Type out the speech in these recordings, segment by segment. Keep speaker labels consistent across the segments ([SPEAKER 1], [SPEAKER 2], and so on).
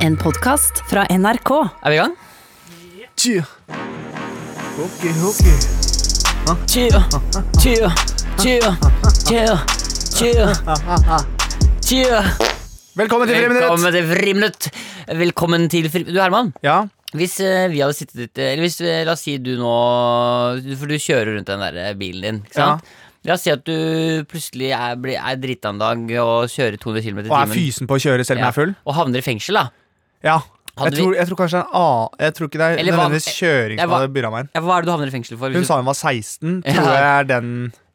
[SPEAKER 1] En podkast fra NRK.
[SPEAKER 2] Er vi i gang?
[SPEAKER 3] Tja. Ok, ok.
[SPEAKER 2] Chill, chill, chill, chill, chill, chill.
[SPEAKER 3] Velkommen til Friminutt!
[SPEAKER 2] Velkommen til Friminutt. Velkommen til Friminutt. Du Herman,
[SPEAKER 3] Ja,
[SPEAKER 2] hvis eh, vi hadde sittet litt Eller hvis, eh, la oss si du nå For du kjører rundt den der eh, bilen din, ikke sant? La oss si at du plutselig er, blir- er drita en dag og kjører 200 km i
[SPEAKER 3] og er
[SPEAKER 2] timen.
[SPEAKER 3] fysen på å kjøre selv om jeg er full?
[SPEAKER 2] Ja, og havner i fengsel, da.
[SPEAKER 3] Ja.
[SPEAKER 2] Hadde
[SPEAKER 3] Jeg
[SPEAKER 2] vi-
[SPEAKER 3] tror, jeg tror kanskje det er en annen Jeg tror ikke det er
[SPEAKER 2] Eller hva-
[SPEAKER 3] nødvendigvis kjøring
[SPEAKER 2] Jeg
[SPEAKER 3] som
[SPEAKER 2] var-
[SPEAKER 3] hadde byrra meg inn.
[SPEAKER 2] Ja, hva er det du havner i fengsel for?
[SPEAKER 3] Hun
[SPEAKER 2] Hvis du...
[SPEAKER 3] sa hun var 16.
[SPEAKER 2] Ja.
[SPEAKER 3] Tror jeg er den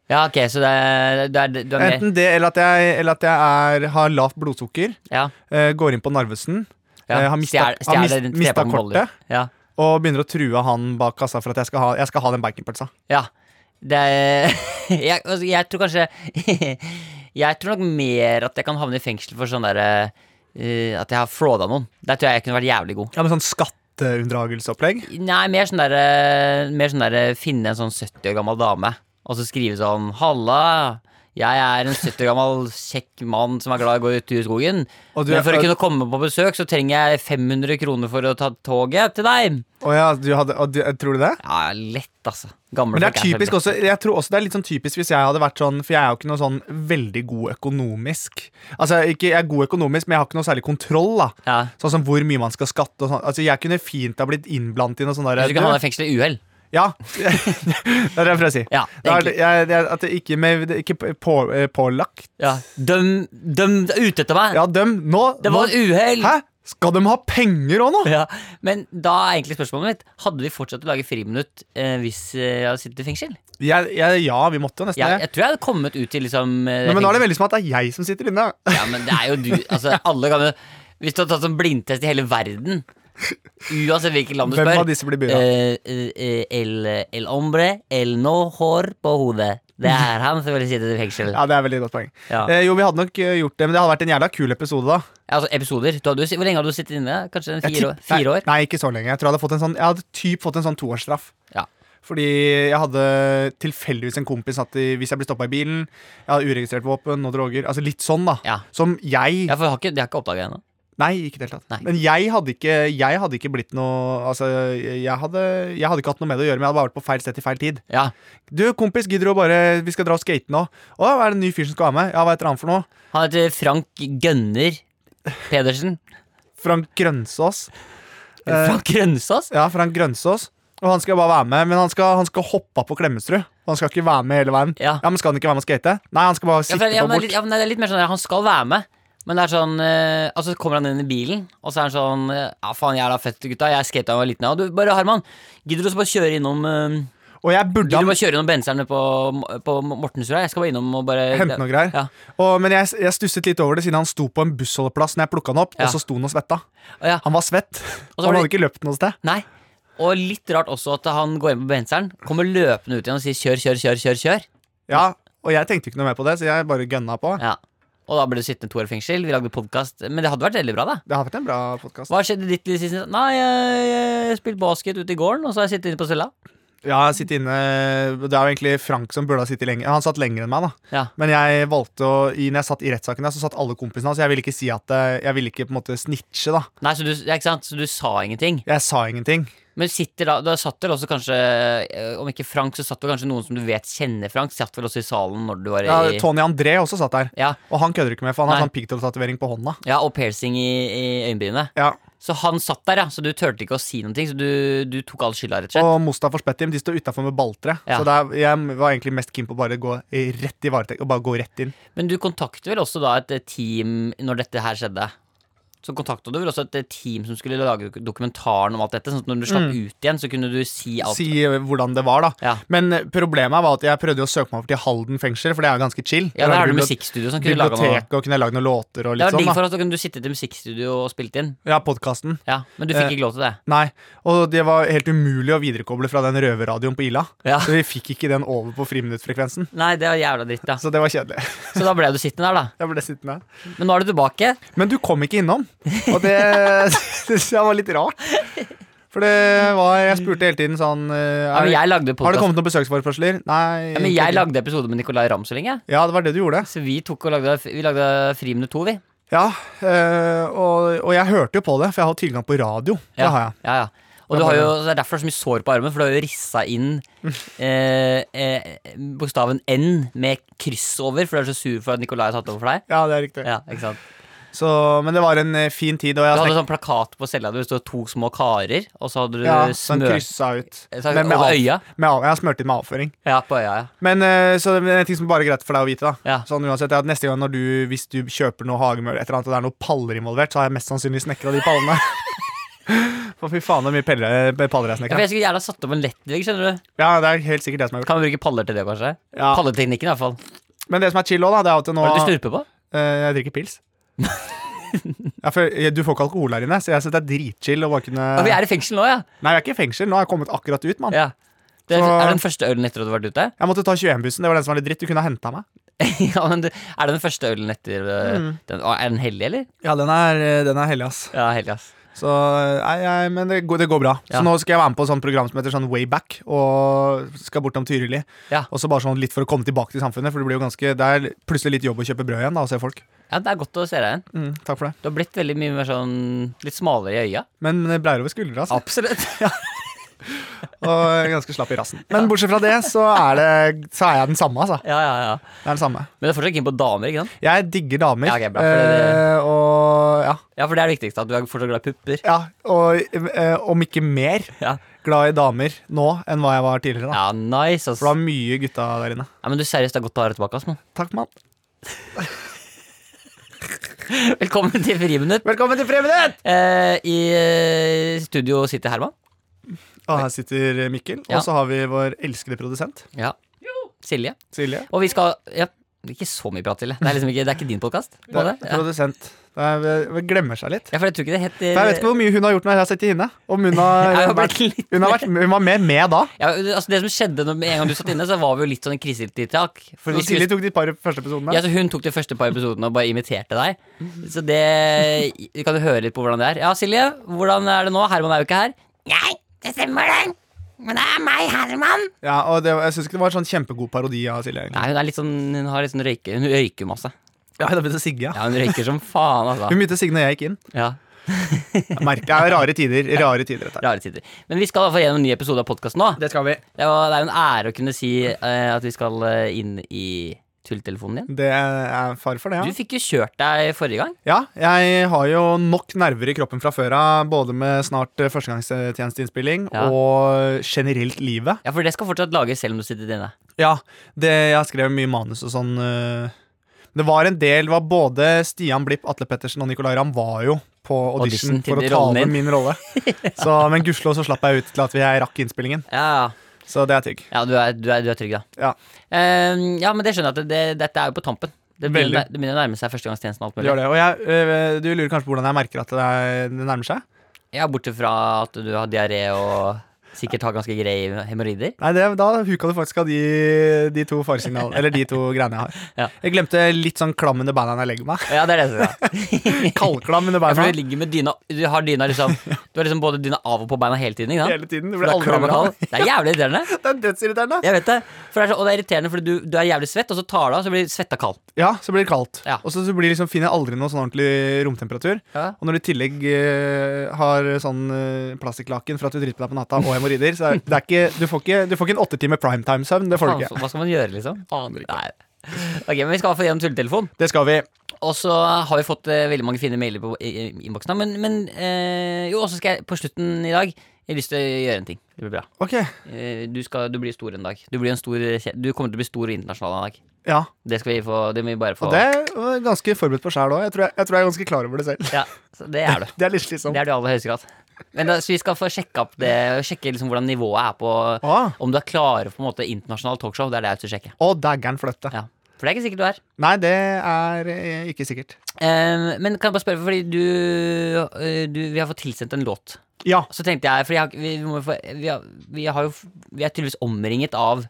[SPEAKER 2] Ja, ok, så det er, du er, du er med.
[SPEAKER 3] Enten det, eller at jeg, eller at jeg er, har lavt blodsukker.
[SPEAKER 2] Ja,
[SPEAKER 3] eh, Går inn på Narvesen.
[SPEAKER 2] ja.
[SPEAKER 3] eh, Har mista,
[SPEAKER 2] Stjel-
[SPEAKER 3] har
[SPEAKER 2] stjeler en
[SPEAKER 3] mis- mista
[SPEAKER 2] trepakke med boller.
[SPEAKER 3] kortet.
[SPEAKER 2] Ja.
[SPEAKER 3] Og begynner å true han bak kassa for at jeg skal ha, jeg skal ha den baconpølsa.
[SPEAKER 2] Ja. Det er, jeg, altså, jeg tror kanskje Jeg tror nok mer at jeg kan havne i fengsel for sånn derre At jeg har frauda noen. Der tror jeg jeg kunne vært jævlig god.
[SPEAKER 3] Ja, med sånn skatteunndragelseopplegg.
[SPEAKER 2] Nei, mer sånn derre Mer sånn derre finne en sånn 70 år gammel dame og så skrive sånn Halla! Jeg er en 70 år gammel kjekk mann som er glad i å gå tur i skogen.
[SPEAKER 3] Og du
[SPEAKER 2] Men
[SPEAKER 3] er-
[SPEAKER 2] for å kunne komme på besøk, så trenger jeg 500 kroner for å ta toget til deg.
[SPEAKER 3] Å ja, du hadde, og du, tror du det?
[SPEAKER 2] Ja, lett, altså. Gamle
[SPEAKER 3] Men det er
[SPEAKER 2] folk
[SPEAKER 3] typisk
[SPEAKER 2] selvfølgelig-
[SPEAKER 3] også, jeg tror også det er litt sånn typisk hvis jeg hadde vært sånn For jeg er jo ikke noe sånn veldig god økonomisk. Altså, jeg er ikke, jeg er god økonomisk, men jeg har ikke noe særlig kontroll. da
[SPEAKER 2] Ja.
[SPEAKER 3] Sånn som hvor mye man skal skatte og sånn. Altså, jeg kunne fint ha blitt innblandet i noe sånn
[SPEAKER 2] Hvis du kan havne
[SPEAKER 3] der
[SPEAKER 2] i fengsel i uhell.
[SPEAKER 3] Ja. det er det jeg prøver å si.
[SPEAKER 2] Ja,
[SPEAKER 3] Det er,
[SPEAKER 2] egentlig.
[SPEAKER 3] jeg, jeg, at det ikke, med, det er ikke på, eh, pålagt.
[SPEAKER 2] Ja, døm, døm det er ute etter meg.
[SPEAKER 3] Ja, dem. Nå,
[SPEAKER 2] det var et
[SPEAKER 3] nå
[SPEAKER 2] uhell.
[SPEAKER 3] Hæ? Skal de ha penger òg nå?
[SPEAKER 2] Ja, men da er egentlig spørsmålet mitt Hadde vi fortsatt å lage friminutt eh, hvis eh, jeg hadde sittet i fengsel?
[SPEAKER 3] Jeg, jeg, ja, vi måtte jo nesten
[SPEAKER 2] Jeg,
[SPEAKER 3] det.
[SPEAKER 2] jeg tror jeg hadde kommet ut til liksom eh,
[SPEAKER 3] Nei, men nå er det
[SPEAKER 2] fengsel.
[SPEAKER 3] veldig som at det er jeg som sitter inne.
[SPEAKER 2] Ja, men det er jo du. Altså, alle gamle Hvis du hadde tatt sånn blindtest i hele verden, uansett hvilket land du
[SPEAKER 3] Hvem
[SPEAKER 2] spør
[SPEAKER 3] av disse blir bura?
[SPEAKER 2] eh, eh, eh, el, el hombre, el no hår på hodet. Det er han som ville sittet i fengsel.
[SPEAKER 3] Ja, det er veldig godt poeng.
[SPEAKER 2] Ja.
[SPEAKER 3] Eh, jo, vi hadde nok eh, gjort det, men det hadde vært en jævla kul episode, da.
[SPEAKER 2] Altså, episoder. Du hadde, jo- hvor lenge hadde du sittet inne? Kanskje en
[SPEAKER 3] Jeg
[SPEAKER 2] fire, år-
[SPEAKER 3] tipp-
[SPEAKER 2] fire år?
[SPEAKER 3] Nei, nei, ikke så lenge. Jeg tror jeg hadde fått en sånn Jeg hadde typ fått en sånn toårsstraff.
[SPEAKER 2] Ja.
[SPEAKER 3] Fordi jeg hadde tilfeldigvis en kompis satt i, hvis jeg ble stoppa i bilen. Jeg hadde uregistrert våpen og droger. Altså litt sånn, da.
[SPEAKER 2] Ja.
[SPEAKER 3] Som jeg
[SPEAKER 2] Ja, for jeg har ikke, det har jeg ikke oppdaga ennå.
[SPEAKER 3] Nei, ikke i det hele
[SPEAKER 2] Nei.
[SPEAKER 3] tatt. Men jeg hadde ikke, jeg hadde ikke blitt noe Altså, jeg hadde, jeg hadde ikke hatt noe med det å gjøre, men jeg hadde bare vært på feil sted til feil tid.
[SPEAKER 2] Ja.
[SPEAKER 3] Du, kompis, gidder du å bare Vi skal dra og skate nå. Å, er det en ny fyr som skal være med? Ja, hva heter han for noe?
[SPEAKER 2] Han heter Frank Gønner Pedersen.
[SPEAKER 3] Frank Grønsås. Eh,
[SPEAKER 2] Frank Grønsaas?
[SPEAKER 3] Ja, Frank Grønsås. Og han skal bare være med, men han skal, han skal hoppe av på Klemetsrud. Han skal ikke være med hele veien.
[SPEAKER 2] Ja.
[SPEAKER 3] men Skal han ikke være med og skate? Nei, han skal bare
[SPEAKER 2] Ja,
[SPEAKER 3] sitte
[SPEAKER 2] for- ja,
[SPEAKER 3] på
[SPEAKER 2] men
[SPEAKER 3] bort.
[SPEAKER 2] litt- ja, men det er litt mer sånn der, han skal være med. Men det er sånn, eh, og så kommer han inn i bilen, og så er han sånn eh, Ja, faen, jævla fett, gutta. Jeg skata da jeg var liten. Ja, du, bare Herman, gidder du også bare kjøre innom eh,
[SPEAKER 3] Og jeg burde
[SPEAKER 2] Gidder du
[SPEAKER 3] ha
[SPEAKER 2] bare kjøre innom benseren nede på, på Mortensrud? Jeg skal bare innom og bare
[SPEAKER 3] hente noe greier.
[SPEAKER 2] Ja.
[SPEAKER 3] Og, men jeg, jeg stusset litt over det, siden han sto på en bussholdeplass når jeg plukka han opp,
[SPEAKER 2] Ja.
[SPEAKER 3] og så sto han og svetta.
[SPEAKER 2] Å, ja.
[SPEAKER 3] Han var svett.
[SPEAKER 2] Og så var
[SPEAKER 3] Og han
[SPEAKER 2] det-
[SPEAKER 3] hadde ikke løpt noe sted.
[SPEAKER 2] Nei. Og litt rart også at han går inn på benseren, kommer løpende ut igjen og sier kjør, kjør, kjør, kjør. kjør
[SPEAKER 3] Ja, Og jeg tenkte ikke noe mer på det, så jeg bare gønna på.
[SPEAKER 2] Ja. Og da ble du sittende to år i fengsel. Vi lagde podkast. Men det hadde vært veldig bra, da.
[SPEAKER 3] Det har vært en bra podkast.
[SPEAKER 2] Hva skjedde ditt liv siden? Nei, jeg, jeg spilte basket ute i gården, og så har jeg sittet inne på cella.
[SPEAKER 3] Ja, jeg sitter inne Det er jo egentlig Frank som burde ha sittet lenger. Han satt lenger enn meg, da.
[SPEAKER 2] Ja.
[SPEAKER 3] Men jeg valgte å i- Når jeg satt i rettssaken, der, så satt alle kompisene hans. Jeg ville ikke si at eh, Jeg ville ikke på en måte snitche, da.
[SPEAKER 2] Nei, så du, ja, ikke sant? så du sa ingenting.
[SPEAKER 3] Jeg sa ingenting.
[SPEAKER 2] Men sitter da, da satt vel også kanskje, eh, om ikke Frank, så satt vel kanskje noen som du vet kjenner Frank, satt vel også i salen når du var i
[SPEAKER 3] Ja, Tony André også satt der.
[SPEAKER 2] Ja,
[SPEAKER 3] Og han kødder ikke med, for han har
[SPEAKER 2] Nei.
[SPEAKER 3] sånn pigtail-tatovering på hånda.
[SPEAKER 2] ja, og piercing i, i øyenbrynet.
[SPEAKER 3] Ja.
[SPEAKER 2] Så han satt der, ja, så du turte ikke å si noen ting, så du, du tok all skylda, rett og slett.
[SPEAKER 3] Og Mustafa Spettim de står utafor med balltre.
[SPEAKER 2] Ja.
[SPEAKER 3] Så der, jeg var egentlig mest keen på å bare gå rett i varetekt. Og bare gå rett inn.
[SPEAKER 2] Men du kontakter vel også da et eh, team når dette her skjedde? Så kontakta du vel også et eh, team som skulle lage dok- dokumentaren om alt dette? Sånn at når du slapp ut igjen, så kunne du si alt?
[SPEAKER 3] Mm. Si eh, hvordan det var, da.
[SPEAKER 2] Ja.
[SPEAKER 3] Men eh, problemet var at jeg prøvde jo å søke meg over til Halden fengsel, for det er jo ganske chill.
[SPEAKER 2] Ja,
[SPEAKER 3] Der
[SPEAKER 2] der har du
[SPEAKER 3] bibliot-
[SPEAKER 2] musikkstudio som kunne laga noe.
[SPEAKER 3] Biblioteket og kunne lagd noen låter og
[SPEAKER 2] Det
[SPEAKER 3] litt
[SPEAKER 2] var digg
[SPEAKER 3] sånn. da
[SPEAKER 2] for at du kunne sitte til musikkstudio og spilt inn.
[SPEAKER 3] Ja, podkasten.
[SPEAKER 2] Ja, Men du
[SPEAKER 3] Eh,
[SPEAKER 2] fikk ikke lov til det.
[SPEAKER 3] Nei, og det var helt umulig å viderekoble fra den røverradioen på Ila.
[SPEAKER 2] Ja.
[SPEAKER 3] Så vi fikk ikke den over på friminuttfrekvensen.
[SPEAKER 2] Nei, det var jævla dritt, da.
[SPEAKER 3] Så det var kjedelig.
[SPEAKER 2] Så da ble du sittende der, da.
[SPEAKER 3] Jeg ble sittende.
[SPEAKER 2] Men nå er du tilbake.
[SPEAKER 3] Men du kom ikke innom, og det syns jeg var litt rart. For det var Jeg spurte hele tiden sånn eh,
[SPEAKER 2] Ja,
[SPEAKER 3] er,
[SPEAKER 2] men jeg lagde
[SPEAKER 3] Har det
[SPEAKER 2] podcast.
[SPEAKER 3] kommet noen besøksforespørsler? Nei.
[SPEAKER 2] Ja, men jeg
[SPEAKER 3] ikke.
[SPEAKER 2] lagde episode med Nicolay Ramm så lenge. jeg.
[SPEAKER 3] ja, det var det du gjorde.
[SPEAKER 2] Så vi tok og lagde, vi lagde Friminutt 2, vi.
[SPEAKER 3] Ja, eh, og, og jeg hørte jo på det, for jeg har tilgang på radio. Det har jeg.
[SPEAKER 2] Ja, ja. Og
[SPEAKER 3] Da
[SPEAKER 2] du
[SPEAKER 3] har
[SPEAKER 2] har
[SPEAKER 3] jeg-
[SPEAKER 2] jo, det er derfor det er så mye sår på armen, for du har jo rissa inn eh, eh, bokstaven N med kryss over, for du er så sur for at Nicolai har tatt over for deg.
[SPEAKER 3] Ja, det er riktig.
[SPEAKER 2] Ja, ikke sant?
[SPEAKER 3] Så, men det var en eh, fin tid.
[SPEAKER 2] Du
[SPEAKER 3] Og jeg
[SPEAKER 2] hadde
[SPEAKER 3] snakket,
[SPEAKER 2] sånn plakat på cella di hvor det stod to små karer, og så hadde du
[SPEAKER 3] ja, den
[SPEAKER 2] smør... Eh,
[SPEAKER 3] kryssa ut.
[SPEAKER 2] Så-
[SPEAKER 3] Men med
[SPEAKER 2] over
[SPEAKER 3] av-
[SPEAKER 2] øya?
[SPEAKER 3] Med av, jeg har smurt inn med avføring.
[SPEAKER 2] Ja, på øya, ja.
[SPEAKER 3] Men eh, så det er en ting som bare er greit for deg å vite, da.
[SPEAKER 2] Ja.
[SPEAKER 3] Sånn uansett, er at Neste gang når du, hvis du kjøper noe hagemøbler, et eller annet, og det er noen paller involvert, så har jeg mest sannsynlig snekra de pallene. For fy faen, hvor mye peller, paller
[SPEAKER 2] Ja,
[SPEAKER 3] jeg
[SPEAKER 2] for
[SPEAKER 3] snekra.
[SPEAKER 2] jeg skulle gjerne ha satt opp en lettvegg, skjønner du.
[SPEAKER 3] Ja, det er helt sikkert det som er gjort.
[SPEAKER 2] Kan vi bruke paller til det, kanskje?
[SPEAKER 3] Ja.
[SPEAKER 2] Palleteknikken, i hvert fall.
[SPEAKER 3] Men det som er chill òg, da, det er at nå
[SPEAKER 2] Hva er det du snurper på?
[SPEAKER 3] Eh, jeg drikker pils. ja, for, eh, du får ikke alkohol her inne, så jeg syns det er dritchill å bare kunne
[SPEAKER 2] Ja, vi er i fengsel nå, ja.
[SPEAKER 3] Nei, vi er ikke i fengsel. Nå har jeg kommet akkurat ut, mann.
[SPEAKER 2] ja. Det er,
[SPEAKER 3] Så-
[SPEAKER 2] er det den første ølen etter at du har vært ute?
[SPEAKER 3] Jeg måtte ta 21-bussen. Det var den som var litt dritt. Du kunne ha henta meg.
[SPEAKER 2] ja, men du, Er det den første ølen etter eh, den, å, Er den hellig, eller?
[SPEAKER 3] Ja, den er, eh, den er hellig, ass.
[SPEAKER 2] Ja, hellig, ass.
[SPEAKER 3] Så, nei, nei, men det går, det går bra.
[SPEAKER 2] Ja.
[SPEAKER 3] Så nå skal jeg være med på et sånt program som heter sånn Wayback, og skal bortom Tyrili.
[SPEAKER 2] Ja.
[SPEAKER 3] Og så bare sånn litt for å komme tilbake til samfunnet, for det blir jo ganske Det er plutselig litt jobb å kjøpe brød igjen da, og se folk.
[SPEAKER 2] Ja, Det er godt å se deg igjen.
[SPEAKER 3] Mm, takk for det.
[SPEAKER 2] Du har blitt veldig mye mer sånn litt smalere i øya.
[SPEAKER 3] Men det bleier over skuldra, altså.
[SPEAKER 2] Absolutt.
[SPEAKER 3] Og ganske slapp i rassen. Men bortsett fra det, så er, det, så er jeg den samme, altså.
[SPEAKER 2] ja, ja, ja.
[SPEAKER 3] Det er den samme.
[SPEAKER 2] Men du er fortsatt keen på damer, ikke sant?
[SPEAKER 3] Jeg digger damer.
[SPEAKER 2] Ja, ok, bra, for det-
[SPEAKER 3] eh, og ja.
[SPEAKER 2] Ja, for det er det viktigste. At du er fortsatt glad i pupper.
[SPEAKER 3] ja og eh, om ikke mer
[SPEAKER 2] Ja,
[SPEAKER 3] glad i damer nå enn hva jeg var tidligere. da
[SPEAKER 2] ja nice, ass.
[SPEAKER 3] For det var mye gutta der inne.
[SPEAKER 2] Ja, men du, seriøst, det er godt å ha deg tilbake, ass, mann.
[SPEAKER 3] Takk, mann.
[SPEAKER 2] Velkommen til Friminutt.
[SPEAKER 3] Velkommen til Friminutt!
[SPEAKER 2] Eh, I eh, studio sitter Herman.
[SPEAKER 3] Og her sitter Mikkel.
[SPEAKER 2] Ah. Ja.
[SPEAKER 3] Og så har vi vår elskede produsent
[SPEAKER 2] Ja. Silje.
[SPEAKER 3] Silje.
[SPEAKER 2] Og vi skal Ja, ikke så mye prat, Silje. Det er liksom ikke, det er ikke din podkast.
[SPEAKER 3] Det er,
[SPEAKER 2] Ja.
[SPEAKER 3] Produsent. Det er, vi glemmer seg litt.
[SPEAKER 2] ja, for jeg tror ikke det heter
[SPEAKER 3] For jeg vet ikke hvor mye hun har gjort når jeg har sett i henne. Om hun har,
[SPEAKER 2] Eh, Jeg har
[SPEAKER 3] vært,
[SPEAKER 2] blitt litt
[SPEAKER 3] hun, har vært, hun var mer med da.
[SPEAKER 2] ja, altså Det som skjedde når, med en gang du satt inne, så var vi jo litt sånn i krisetiltak. For vi
[SPEAKER 3] Silje
[SPEAKER 2] skulle-
[SPEAKER 3] tok de par første episodene.
[SPEAKER 2] ja, så hun tok de første par episodene og bare imiterte deg. Så det vi kan jo høre litt på hvordan det er. Ja, Silje, hvordan er det nå? Herman er jo ikke her. Nei, det stemmer det. Men det er meg, Herman.
[SPEAKER 3] Ja, og det, var- jeg syns ikke det var en sånn kjempegod parodi av Silje. egentlig.
[SPEAKER 2] Nei, hun er litt sånn Hun har litt sånn røyke Hun røyker masse.
[SPEAKER 3] Ja, det begynte å sigge, ja.
[SPEAKER 2] Ja, hun røyker som faen, altså.
[SPEAKER 3] Hun begynte å sigge når jeg gikk inn.
[SPEAKER 2] Ja,
[SPEAKER 3] Jeg merker, det er rare tider. Rare tider dette her.
[SPEAKER 2] Rare tider. Men vi skal i hvert fall gjennom en ny episode av podkasten nå.
[SPEAKER 3] Det skal vi.
[SPEAKER 2] Det var- det er jo en ære å kunne si eh, at vi skal eh, inn i tulletelefonen igjen.
[SPEAKER 3] Det er far for det,
[SPEAKER 2] Du
[SPEAKER 3] ja.
[SPEAKER 2] fikk jo kjørt deg forrige gang.
[SPEAKER 3] Ja, jeg har jo nok nerver i kroppen fra før av, både med snart eh, førstegangstjenesteinnspilling
[SPEAKER 2] Ja.
[SPEAKER 3] og generelt livet.
[SPEAKER 2] Ja, for det skal fortsatt lages selv om du sitter inne.
[SPEAKER 3] Ja, det, jeg skrev mye manus og sånn. eh, Det var en del, det var både Stian Blipp, Atle Pettersen og Nicolay Ramm var jo på audition,
[SPEAKER 2] Audition til
[SPEAKER 3] for å ta
[SPEAKER 2] rollen
[SPEAKER 3] over
[SPEAKER 2] din.
[SPEAKER 3] min rolle. Så, men gudskjelov så slapp jeg ut til at jeg rakk innspillingen,
[SPEAKER 2] Ja,
[SPEAKER 3] så det er tygg.
[SPEAKER 2] ja du, er, du, er, du er trygg, da.
[SPEAKER 3] Ja.
[SPEAKER 2] Ehm, ja, men det skjønner jeg at det, det, dette er jo på tampen. Det begynner,
[SPEAKER 3] Veldig.
[SPEAKER 2] det begynner å nærme seg førstegangstjenesten. og alt
[SPEAKER 3] Det gjør
[SPEAKER 2] mulig
[SPEAKER 3] det. Og jeg, øh, du lurer kanskje på hvordan jeg merker at det, er, det nærmer seg?
[SPEAKER 2] Ja, Bortsett fra at du har diaré og sikkert har ganske greie hemoroider.
[SPEAKER 3] Nei, det, da huka du faktisk av de, de to faresignalene. Eller de to greiene jeg har.
[SPEAKER 2] Ja.
[SPEAKER 3] Jeg glemte litt sånn klam under beina når jeg legger meg.
[SPEAKER 2] Ja, det er det som er.
[SPEAKER 3] Kaldklam under
[SPEAKER 2] Ja, for du
[SPEAKER 3] beina.
[SPEAKER 2] ligger med dyna Du har dyna liksom Du har liksom både dyna av og på beina hele tiden. Ikke sant?
[SPEAKER 3] Hele tiden. Du
[SPEAKER 2] For det,
[SPEAKER 3] blir
[SPEAKER 2] er
[SPEAKER 3] aldri
[SPEAKER 2] klam og
[SPEAKER 3] bra.
[SPEAKER 2] kald. det er jævlig irriterende.
[SPEAKER 3] Det er dødsirriterende.
[SPEAKER 2] Jeg vet det. For det er så, og det er irriterende, fordi du, du er jævlig svett, og så tar du av, så blir svetta kald.
[SPEAKER 3] Ja, så blir det kaldt.
[SPEAKER 2] Ja.
[SPEAKER 3] Og så så blir liksom, finner jeg aldri noe sånn ordentlig romtemperatur.
[SPEAKER 2] Ja.
[SPEAKER 3] Og når du i tillegg eh, har sånn eh, plastikklaken for at du driter på deg på natta, og hemoroider, så er det er ikke, du, får ikke, du får ikke en åttetime primetime-søvn. Det får du
[SPEAKER 2] Faen,
[SPEAKER 3] ikke.
[SPEAKER 2] Hva skal man gjøre, liksom?
[SPEAKER 3] Aner ikke.
[SPEAKER 2] Nei. Ok, men Vi skal i hvert fall gjennom tulletelefon.
[SPEAKER 3] Det skal vi.
[SPEAKER 2] Og så har vi fått eh, veldig mange fine mailer på i- i- innboksen. da, Men, men eh, jo, og så skal jeg på slutten i dag Jeg har lyst til å gjøre en ting. Det blir bra.
[SPEAKER 3] Ok.
[SPEAKER 2] Eh, du, skal, du blir stor en dag. Du, blir en stor, eh, kje- du kommer til å bli stor og internasjonal en dag.
[SPEAKER 3] Ja.
[SPEAKER 2] Det skal vi få, det må vi bare få.
[SPEAKER 3] Og det er jeg ganske forberedt på sjæl òg. Jeg, tror jeg, jeg tror jeg er ganske klar over det selv.
[SPEAKER 2] Ja, så det er du.
[SPEAKER 3] Det er litt slitsomt.
[SPEAKER 2] Det er du i aller høyeste grad. Men da, så vi skal få sjekke opp det Sjekke liksom hvordan nivået er på
[SPEAKER 3] Ah.
[SPEAKER 2] Om du er klare for på en måte internasjonalt talkshow. Det er det jeg vil sjekke.
[SPEAKER 3] Å, dægger'n fløtte.
[SPEAKER 2] Ja. For det er ikke sikkert du er.
[SPEAKER 3] Nei, det er eh, ikke sikkert.
[SPEAKER 2] Eh, men kan jeg bare spørre, fordi du, eh, du Vi har fått tilsendt en låt.
[SPEAKER 3] Ja.
[SPEAKER 2] Så tenkte jeg, for jeg har, ikke- vi, vi, må jo få, vi, har, vi har jo f- Vi er tydeligvis omringet av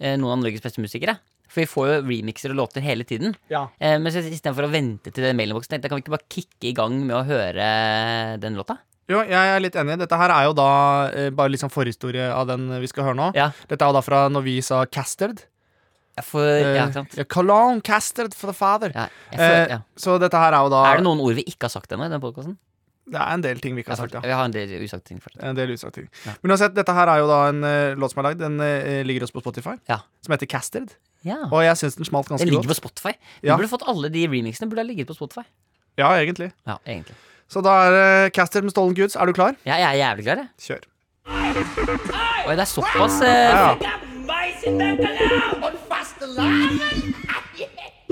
[SPEAKER 2] eh, noen av Norges beste musikere. For vi får jo remixer og låter hele tiden. Eh, men så istedenfor å vente til den mailinnboksen, tenkte jeg kan vi ikke bare kicke i gang med å høre den låta?
[SPEAKER 3] Jo, jeg er litt enig. Dette her er jo da eh, bare litt sånn forhistorie av den vi skal høre nå.
[SPEAKER 2] Ja.
[SPEAKER 3] Dette er jo da fra når vi sa Castard.
[SPEAKER 2] Jeg får, ja,
[SPEAKER 3] Eh,
[SPEAKER 2] ikke sant?
[SPEAKER 3] ja, Cologne casted for the father.
[SPEAKER 2] Ja, jeg får,
[SPEAKER 3] Eh,
[SPEAKER 2] ja.
[SPEAKER 3] Så dette her er jo da
[SPEAKER 2] Er det noen ord vi ikke har sagt ennå i den podkasten?
[SPEAKER 3] Det er en del ting vi ikke har sagt, ja. Eh,
[SPEAKER 2] Vi har en del usagte ting fortsatt.
[SPEAKER 3] En del utsagt ting.
[SPEAKER 2] Ja.
[SPEAKER 3] Men uansett, dette her er jo da en eh, låt som er lagd. Den eh, ligger også på Spotify.
[SPEAKER 2] Ja.
[SPEAKER 3] Som heter Casted.
[SPEAKER 2] Ja.
[SPEAKER 3] Og jeg syns den smalt ganske
[SPEAKER 2] Ah. Den ligger
[SPEAKER 3] godt.
[SPEAKER 2] på Spotify. Vi
[SPEAKER 3] Ja.
[SPEAKER 2] burde fått alle de remixene burde ha ligget på Spotify.
[SPEAKER 3] Ja, egentlig.
[SPEAKER 2] Ja, egentlig.
[SPEAKER 3] Så da er det Casted med Stolen Goods. Er du klar?
[SPEAKER 2] Ja, jeg er jævlig klar, jeg.
[SPEAKER 3] Kjør.
[SPEAKER 2] Oi, det er såpass eh,
[SPEAKER 3] Ja, ja.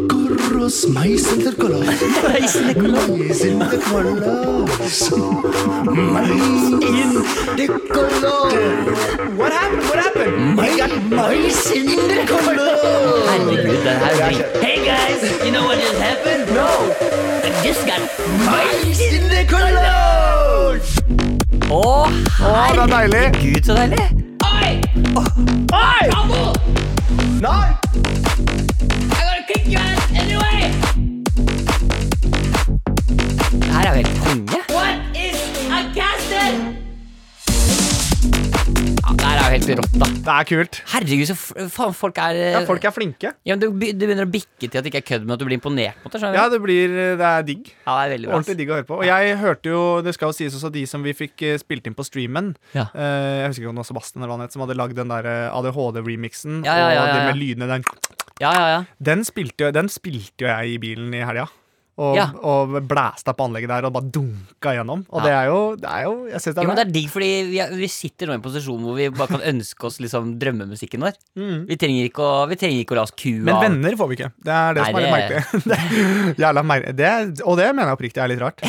[SPEAKER 4] Corros mais intercolores. Mais intercolores. Mais intercolores.
[SPEAKER 3] What happened? What happened?
[SPEAKER 4] My, mais intercolores.
[SPEAKER 2] Herregud, det her er drit.
[SPEAKER 5] Hey guys, you know what just happened? No! I just got
[SPEAKER 4] Mais intercolores.
[SPEAKER 2] Å,
[SPEAKER 3] Å, det er deilig!
[SPEAKER 2] herregud, så deilig!
[SPEAKER 5] Oi! Oi! Trouble! I'm gonna kick your ass anyway!
[SPEAKER 2] Det her er jo helt konge.
[SPEAKER 5] What is a casted?
[SPEAKER 2] Ja, det her er jo helt rått, da.
[SPEAKER 3] Det er kult.
[SPEAKER 2] Herregud, så f- faen, folk er eh,
[SPEAKER 3] Ja, folk er flinke.
[SPEAKER 2] ja, men du, be- du begynner å bikke til at det ikke er kødd, men at du blir imponert. på det, skjønner du?
[SPEAKER 3] Ja, det blir eh, Det er digg.
[SPEAKER 2] ja, det er veldig bra. ass.
[SPEAKER 3] Ordentlig digg å høre på. Og jeg hørte jo, det skal jo sies også, de som vi fikk eh, spilt inn på streamen
[SPEAKER 2] Ja.
[SPEAKER 3] eh, Jeg husker ikke om det var Sebastian eller hva han het, som hadde lagd den der eh, ADHD-remixen.
[SPEAKER 2] Ja, ja, ja,
[SPEAKER 3] Og
[SPEAKER 2] ja,
[SPEAKER 3] det
[SPEAKER 2] ja.
[SPEAKER 3] med lydene, den
[SPEAKER 2] Ja, ja, ja.
[SPEAKER 3] Den spilte, jo- den spilte jo jeg i bilen i helga. Og,
[SPEAKER 2] Ja.
[SPEAKER 3] og blæsta på anlegget der og bare dunka gjennom. Og
[SPEAKER 2] Ja.
[SPEAKER 3] det er jo, det er jo Jeg syns
[SPEAKER 2] Jo,
[SPEAKER 3] det er
[SPEAKER 2] men
[SPEAKER 3] bra.
[SPEAKER 2] det er digg, fordi vi, er, vi sitter nå i en posisjon hvor vi bare kan ønske oss liksom drømmemusikken vår. Vi, trenger ikke å, vi trenger ikke å la oss kue
[SPEAKER 3] Mm. Men
[SPEAKER 2] av
[SPEAKER 3] venner får vi ikke. Det er det
[SPEAKER 2] Nei,
[SPEAKER 3] som er litt merkelig. Det er jævla mer- det, og det mener jeg oppriktig er litt rart.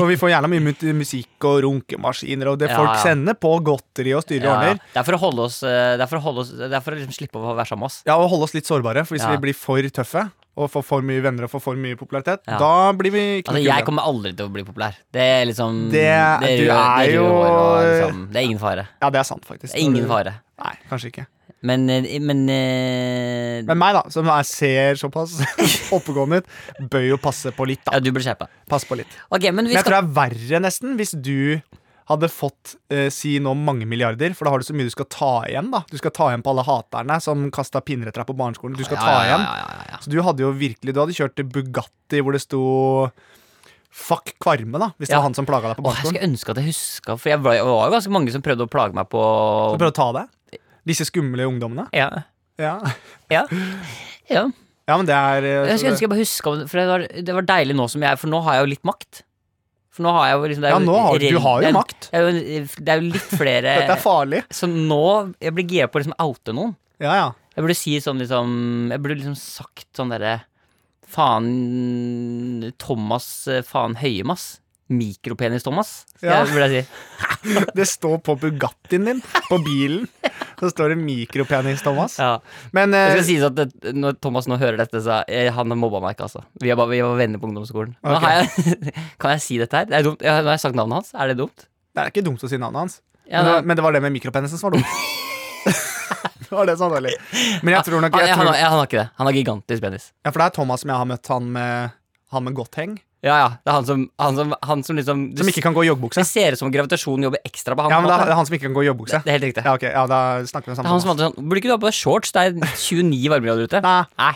[SPEAKER 3] For vi får gjerne mye mu- musikk og runkemaskiner, og det
[SPEAKER 2] Ja,
[SPEAKER 3] folk
[SPEAKER 2] ja.
[SPEAKER 3] sender på godteri og styrer
[SPEAKER 2] Ja,
[SPEAKER 3] og
[SPEAKER 2] ja.
[SPEAKER 3] ordner.
[SPEAKER 2] Det er for å holde oss eh, Det er for å, holde oss, det er for å liksom slippe å være sammen med oss.
[SPEAKER 3] Ja, og holde oss litt sårbare, for hvis
[SPEAKER 2] Ja.
[SPEAKER 3] vi blir for tøffe og får for mye venner og får for mye popularitet,
[SPEAKER 2] Ja.
[SPEAKER 3] da blir vi ikke
[SPEAKER 2] Altså,
[SPEAKER 3] noe
[SPEAKER 2] jeg
[SPEAKER 3] kule.
[SPEAKER 2] kommer aldri til å bli populær. Det er liksom
[SPEAKER 3] Det-
[SPEAKER 2] røde-
[SPEAKER 3] du er
[SPEAKER 2] det røde
[SPEAKER 3] jo-
[SPEAKER 2] håret og liksom, Det er ingen fare.
[SPEAKER 3] Ja, det er sant, faktisk.
[SPEAKER 2] Det er ingen fare.
[SPEAKER 3] Nei, kanskje ikke.
[SPEAKER 2] Men, eh, men, eh,
[SPEAKER 3] Men meg, da, som er, ser såpass oppegående ut, bør jo passe på litt, da.
[SPEAKER 2] Ja, du burde skjerpe deg.
[SPEAKER 3] Pass på litt.
[SPEAKER 2] Ok, men vi
[SPEAKER 3] Men jeg
[SPEAKER 2] skal
[SPEAKER 3] tror det er verre, nesten, hvis du hadde fått eh, si nå mange milliarder, for da har du så mye du skal ta igjen, da. Du skal ta igjen på alle haterne som kasta pinner etter deg på barneskolen. Du skal ta
[SPEAKER 2] ja, ja,
[SPEAKER 3] igjen.
[SPEAKER 2] ja, ja, ja, ja.
[SPEAKER 3] Så du hadde jo virkelig Du hadde kjørt Bugatti hvor det sto Fuck Kvarme, da, hvis det
[SPEAKER 2] Ja.
[SPEAKER 3] var han som plaga deg
[SPEAKER 2] Åh, jeg
[SPEAKER 3] på barneskolen.
[SPEAKER 2] skulle ønske at jeg huska, for jeg var, det var jo ganske mange som prøvde å plage meg på
[SPEAKER 3] Skal vi prøve å ta det? Disse skumle ungdommene?
[SPEAKER 2] Ja.
[SPEAKER 3] Ja,
[SPEAKER 2] Ja. ja.
[SPEAKER 3] ja men det er eh,
[SPEAKER 2] Jeg skulle
[SPEAKER 3] så det-
[SPEAKER 2] ønske jeg bare huska For det var, det var deilig nå som jeg For nå har jeg jo litt makt. For nå har jeg jo liksom det er
[SPEAKER 3] Ja, nå har du-
[SPEAKER 2] rel-
[SPEAKER 3] du har jo
[SPEAKER 2] det er-
[SPEAKER 3] makt.
[SPEAKER 2] Det er jo, det er jo litt flere
[SPEAKER 3] Dette er farlig.
[SPEAKER 2] Så nå Jeg blir gira på å liksom oute noen.
[SPEAKER 3] Ja, ja.
[SPEAKER 2] Jeg burde si sånn liksom Jeg burde liksom sagt sånn derre Faen Thomas eh, Faen Høyemass. Mikropenis-Thomas, skal
[SPEAKER 3] Ja.
[SPEAKER 2] jeg, burde jeg si.
[SPEAKER 3] Det står på Bugattien din, på bilen. Så står det mikropenis, Thomas.
[SPEAKER 2] Ja.
[SPEAKER 3] Men
[SPEAKER 2] Det
[SPEAKER 3] eh,
[SPEAKER 2] skal sies at det, når Thomas nå hører dette, så eh, han mobba meg ikke, altså. Vi, er bare, vi var venner på ungdomsskolen. Nå
[SPEAKER 3] Ok.
[SPEAKER 2] har jeg, kan jeg si dette her? Det er dumt. Ja, nå har jeg sagt navnet hans. Er det dumt?
[SPEAKER 3] det er ikke dumt å si navnet hans.
[SPEAKER 2] Ja,
[SPEAKER 3] men, det var,
[SPEAKER 2] det-
[SPEAKER 3] men det var det med mikropenisen som var dumt. det var det som var dårlig. Men jeg tror nok
[SPEAKER 2] Han,
[SPEAKER 3] jeg
[SPEAKER 2] han,
[SPEAKER 3] tror,
[SPEAKER 2] har- han har ikke det. Han har gigantisk penis.
[SPEAKER 3] ja, For det er Thomas som jeg har møtt, han med, han med godt heng.
[SPEAKER 2] Ja, ja. Det er han som, han som, han som liksom du,
[SPEAKER 3] Som ikke kan gå i joggebukse.
[SPEAKER 2] Det ser ut som gravitasjonen jobber ekstra på han.
[SPEAKER 3] Ja,
[SPEAKER 2] på en
[SPEAKER 3] men det
[SPEAKER 2] måte.
[SPEAKER 3] er, det er han som ikke kan gå i joggebukse.
[SPEAKER 2] Det er helt riktig.
[SPEAKER 3] Ja, ok, ja, da snakker vi om
[SPEAKER 2] Det er han som
[SPEAKER 3] samme
[SPEAKER 2] alltid sånn Burde ikke du ha på deg shorts? Det er 29 varmegrader ute.
[SPEAKER 3] Nei.
[SPEAKER 2] Nei.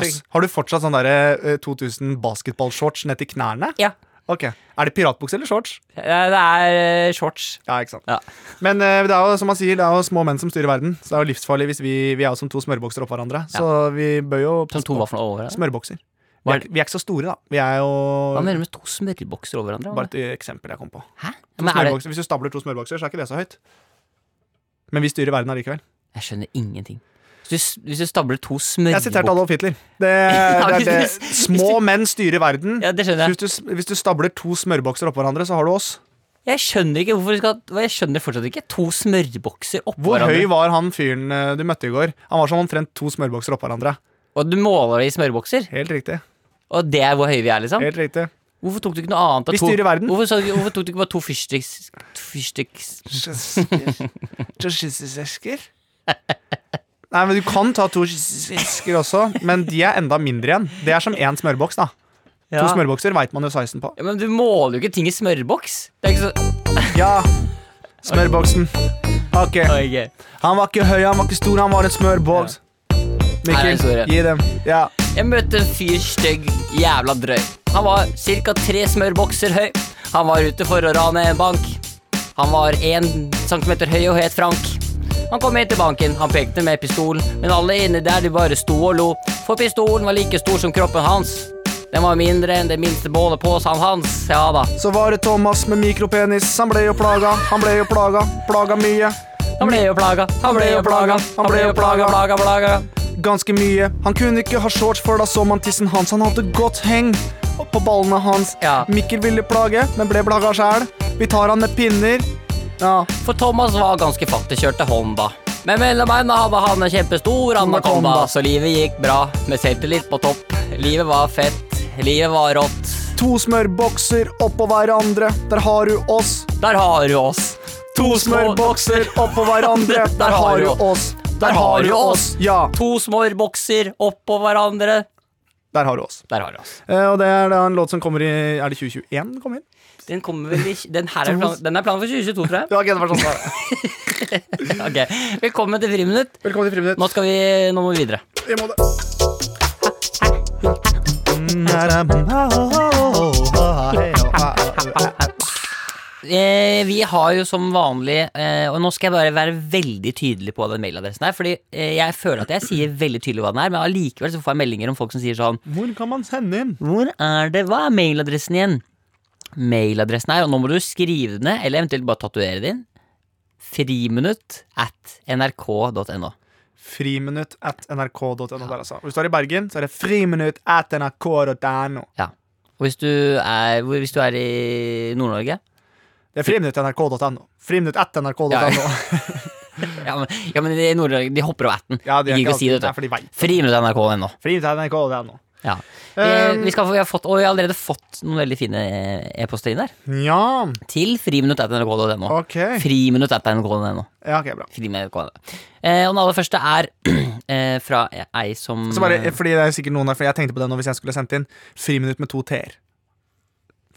[SPEAKER 3] Jøss, Har du fortsatt sånn derre eh, 2000 basketballshorts ned til knærne?
[SPEAKER 2] Ja.
[SPEAKER 3] Ok, Er det piratbukse eller shorts?
[SPEAKER 2] Eh, Det er eh, shorts.
[SPEAKER 3] Ja, ikke sant.
[SPEAKER 2] Ja.
[SPEAKER 3] Men eh, det er jo som man sier, det er jo små menn som styrer verden. Så det er jo livsfarlig hvis vi, vi er jo som to smørbokser oppå hverandre. Så vi bør jo
[SPEAKER 2] Som to vafler over hverandre.
[SPEAKER 3] Smørbokser. Vi
[SPEAKER 2] Hva
[SPEAKER 3] er,
[SPEAKER 2] er det-
[SPEAKER 3] vi er ikke så store, da. Vi er
[SPEAKER 2] Hva
[SPEAKER 3] jo
[SPEAKER 2] mener du med to smørbokser over hverandre?
[SPEAKER 3] Bare et eksempel jeg kom på.
[SPEAKER 2] Hæ?
[SPEAKER 3] To
[SPEAKER 2] Men er det,
[SPEAKER 3] smørbokser. Hvis du stabler to smørbokser, så er ikke det så høyt. Men vi styrer verden allikevel.
[SPEAKER 2] jeg skjønner ingenting. Hvis du, s- hvis du stabler to
[SPEAKER 3] Jeg siterte
[SPEAKER 2] smørbokser
[SPEAKER 3] Adolf Hitler. Det, det, er
[SPEAKER 2] hvis du-
[SPEAKER 3] det. Små menn styrer verden.
[SPEAKER 2] Ja, det skjønner jeg.
[SPEAKER 3] Hvis du, s- hvis du stabler to smørbokser oppå hverandre, så har du oss.
[SPEAKER 2] Jeg skjønner ikke hvorfor du skal hva- Jeg skjønner fortsatt ikke. To smørbokser oppå
[SPEAKER 3] Hvor høy
[SPEAKER 2] hverandre.
[SPEAKER 3] var han fyren eh, du møtte i går? Han var som omtrent to smørbokser oppå hverandre.
[SPEAKER 2] Og du måler det i smørbokser.
[SPEAKER 3] Helt riktig.
[SPEAKER 2] Og det er hvor høye vi er, liksom.
[SPEAKER 3] Helt riktig.
[SPEAKER 2] Hvorfor tok du ikke noe annet? av
[SPEAKER 3] Vi
[SPEAKER 2] to-
[SPEAKER 3] styrer verden.
[SPEAKER 2] Hvorfor, sa du, ikke- hvorfor tok du ikke bare to fyrstiks... Fyrstiks...
[SPEAKER 3] Nei, men Du kan ta to sjesker også, men de er enda mindre igjen. Det er som én smørboks. da To
[SPEAKER 2] Ja.
[SPEAKER 3] smørbokser veit man jo sizen på.
[SPEAKER 2] Ja, men du måler jo ikke ting i smørboks. Det er ikke så
[SPEAKER 3] Ja, smørboksen. Ok,
[SPEAKER 2] Ok.
[SPEAKER 3] Han var ikke høy, han var ikke stor, han var en smørboks.
[SPEAKER 2] Her er
[SPEAKER 3] Mikkel,
[SPEAKER 2] historien.
[SPEAKER 3] gi dem. Ja.
[SPEAKER 2] Jeg møtte en fyr stygg, jævla drøy. Han var ca. tre smørbokser høy. Han var ute for å rane en bank. Han var én centimeter høy og het Frank. Han kom inn til banken, han pekte med pistol, men alle inne der de bare sto og lo, for pistolen var like stor som kroppen hans. Den var mindre enn det minste bålet på sand hans, ja da.
[SPEAKER 3] Så var det Thomas med mikropenis. Han ble jo plaga, han ble jo plaga. Plaga mye.
[SPEAKER 2] Han ble jo plaga, han ble jo plaga, han ble jo plaga, plaga, plaga.
[SPEAKER 3] Ganske mye. Han kunne ikke ha shorts, for da så man tissen hans. Han hadde godt heng på ballene hans.
[SPEAKER 2] Ja.
[SPEAKER 3] Mikkel ville plage, men ble plaga sjæl. Vi tar han med pinner. Ja.
[SPEAKER 2] For Thomas var ganske fattigkjørt til Honda. Men mellom beina hadde han en kjempestor anakonda, så livet gikk bra, med selvtillit på topp. Livet var fett, livet var rått.
[SPEAKER 3] To smørbokser oppå hverandre. Der har du oss.
[SPEAKER 2] Der har du oss.
[SPEAKER 3] To smørbokser oppå hverandre. Der har du oss.
[SPEAKER 2] Der har du oss.
[SPEAKER 3] Ja,
[SPEAKER 2] To små bokser oppå hverandre.
[SPEAKER 3] der har du oss.
[SPEAKER 2] Der har du oss.
[SPEAKER 3] Eh, og det er da en låt som kommer i Er det 2021 den kommer inn?
[SPEAKER 2] Den kommer vel i Den her er plan, den er planen for 2022, tror jeg.
[SPEAKER 3] Ja, ok, det var sånn. det var.
[SPEAKER 2] Ok, Velkommen til Friminutt.
[SPEAKER 3] Velkommen til Friminutt.
[SPEAKER 2] Nå skal vi Nå må vi videre.
[SPEAKER 3] I må det.
[SPEAKER 2] Eh, vi har jo som vanlig eh, Og nå skal jeg bare være veldig tydelig på den mailadressen her. Fordi eh, jeg føler at jeg sier veldig tydelig hva den er, men allikevel så får jeg meldinger om folk som sier sånn
[SPEAKER 3] Hvor kan man sende inn?
[SPEAKER 2] Hvor er det? Hva er mailadressen igjen? Mailadressen er, og nå må du skrive den ned, eller eventuelt bare tatovere den. Friminutt at nrk.no.
[SPEAKER 3] Friminutt at nrk.no. der, altså. Hvis du er i Bergen, så er det friminutt at nrk.no.
[SPEAKER 2] Ja. Og hvis du er, hvor- hvis du er i Nord-Norge
[SPEAKER 3] Det er friminutt at nrk.no. Friminutt at nrk.no.
[SPEAKER 2] Ja, ja. ja, men, ja, men i Nord-Norge de hopper over atten.
[SPEAKER 3] Ja, de
[SPEAKER 2] de
[SPEAKER 3] er
[SPEAKER 2] gikk
[SPEAKER 3] ikke
[SPEAKER 2] ikke si det, vet du.
[SPEAKER 3] alltid- Nei, for de vet.
[SPEAKER 2] Friminutt at nrk.no.
[SPEAKER 3] Friminutt at nrk.no.
[SPEAKER 2] Ja. Vi,
[SPEAKER 3] Um,
[SPEAKER 2] vi, skal, få- vi, har fått, og vi har allerede fått noen veldig fine eh, e-poster inn der.
[SPEAKER 3] Ja,
[SPEAKER 2] Til friminutt.nrk.no.
[SPEAKER 3] OK.
[SPEAKER 2] Friminutt.nrk.no.
[SPEAKER 3] Ja, ok, bra.
[SPEAKER 2] Friminutt.no. Eh, og den aller første er eh, fra ei som
[SPEAKER 3] Så bare, eh, fordi det er sikkert noen der, for Jeg tenkte på det nå hvis jeg skulle sendt inn friminutt med to t-er.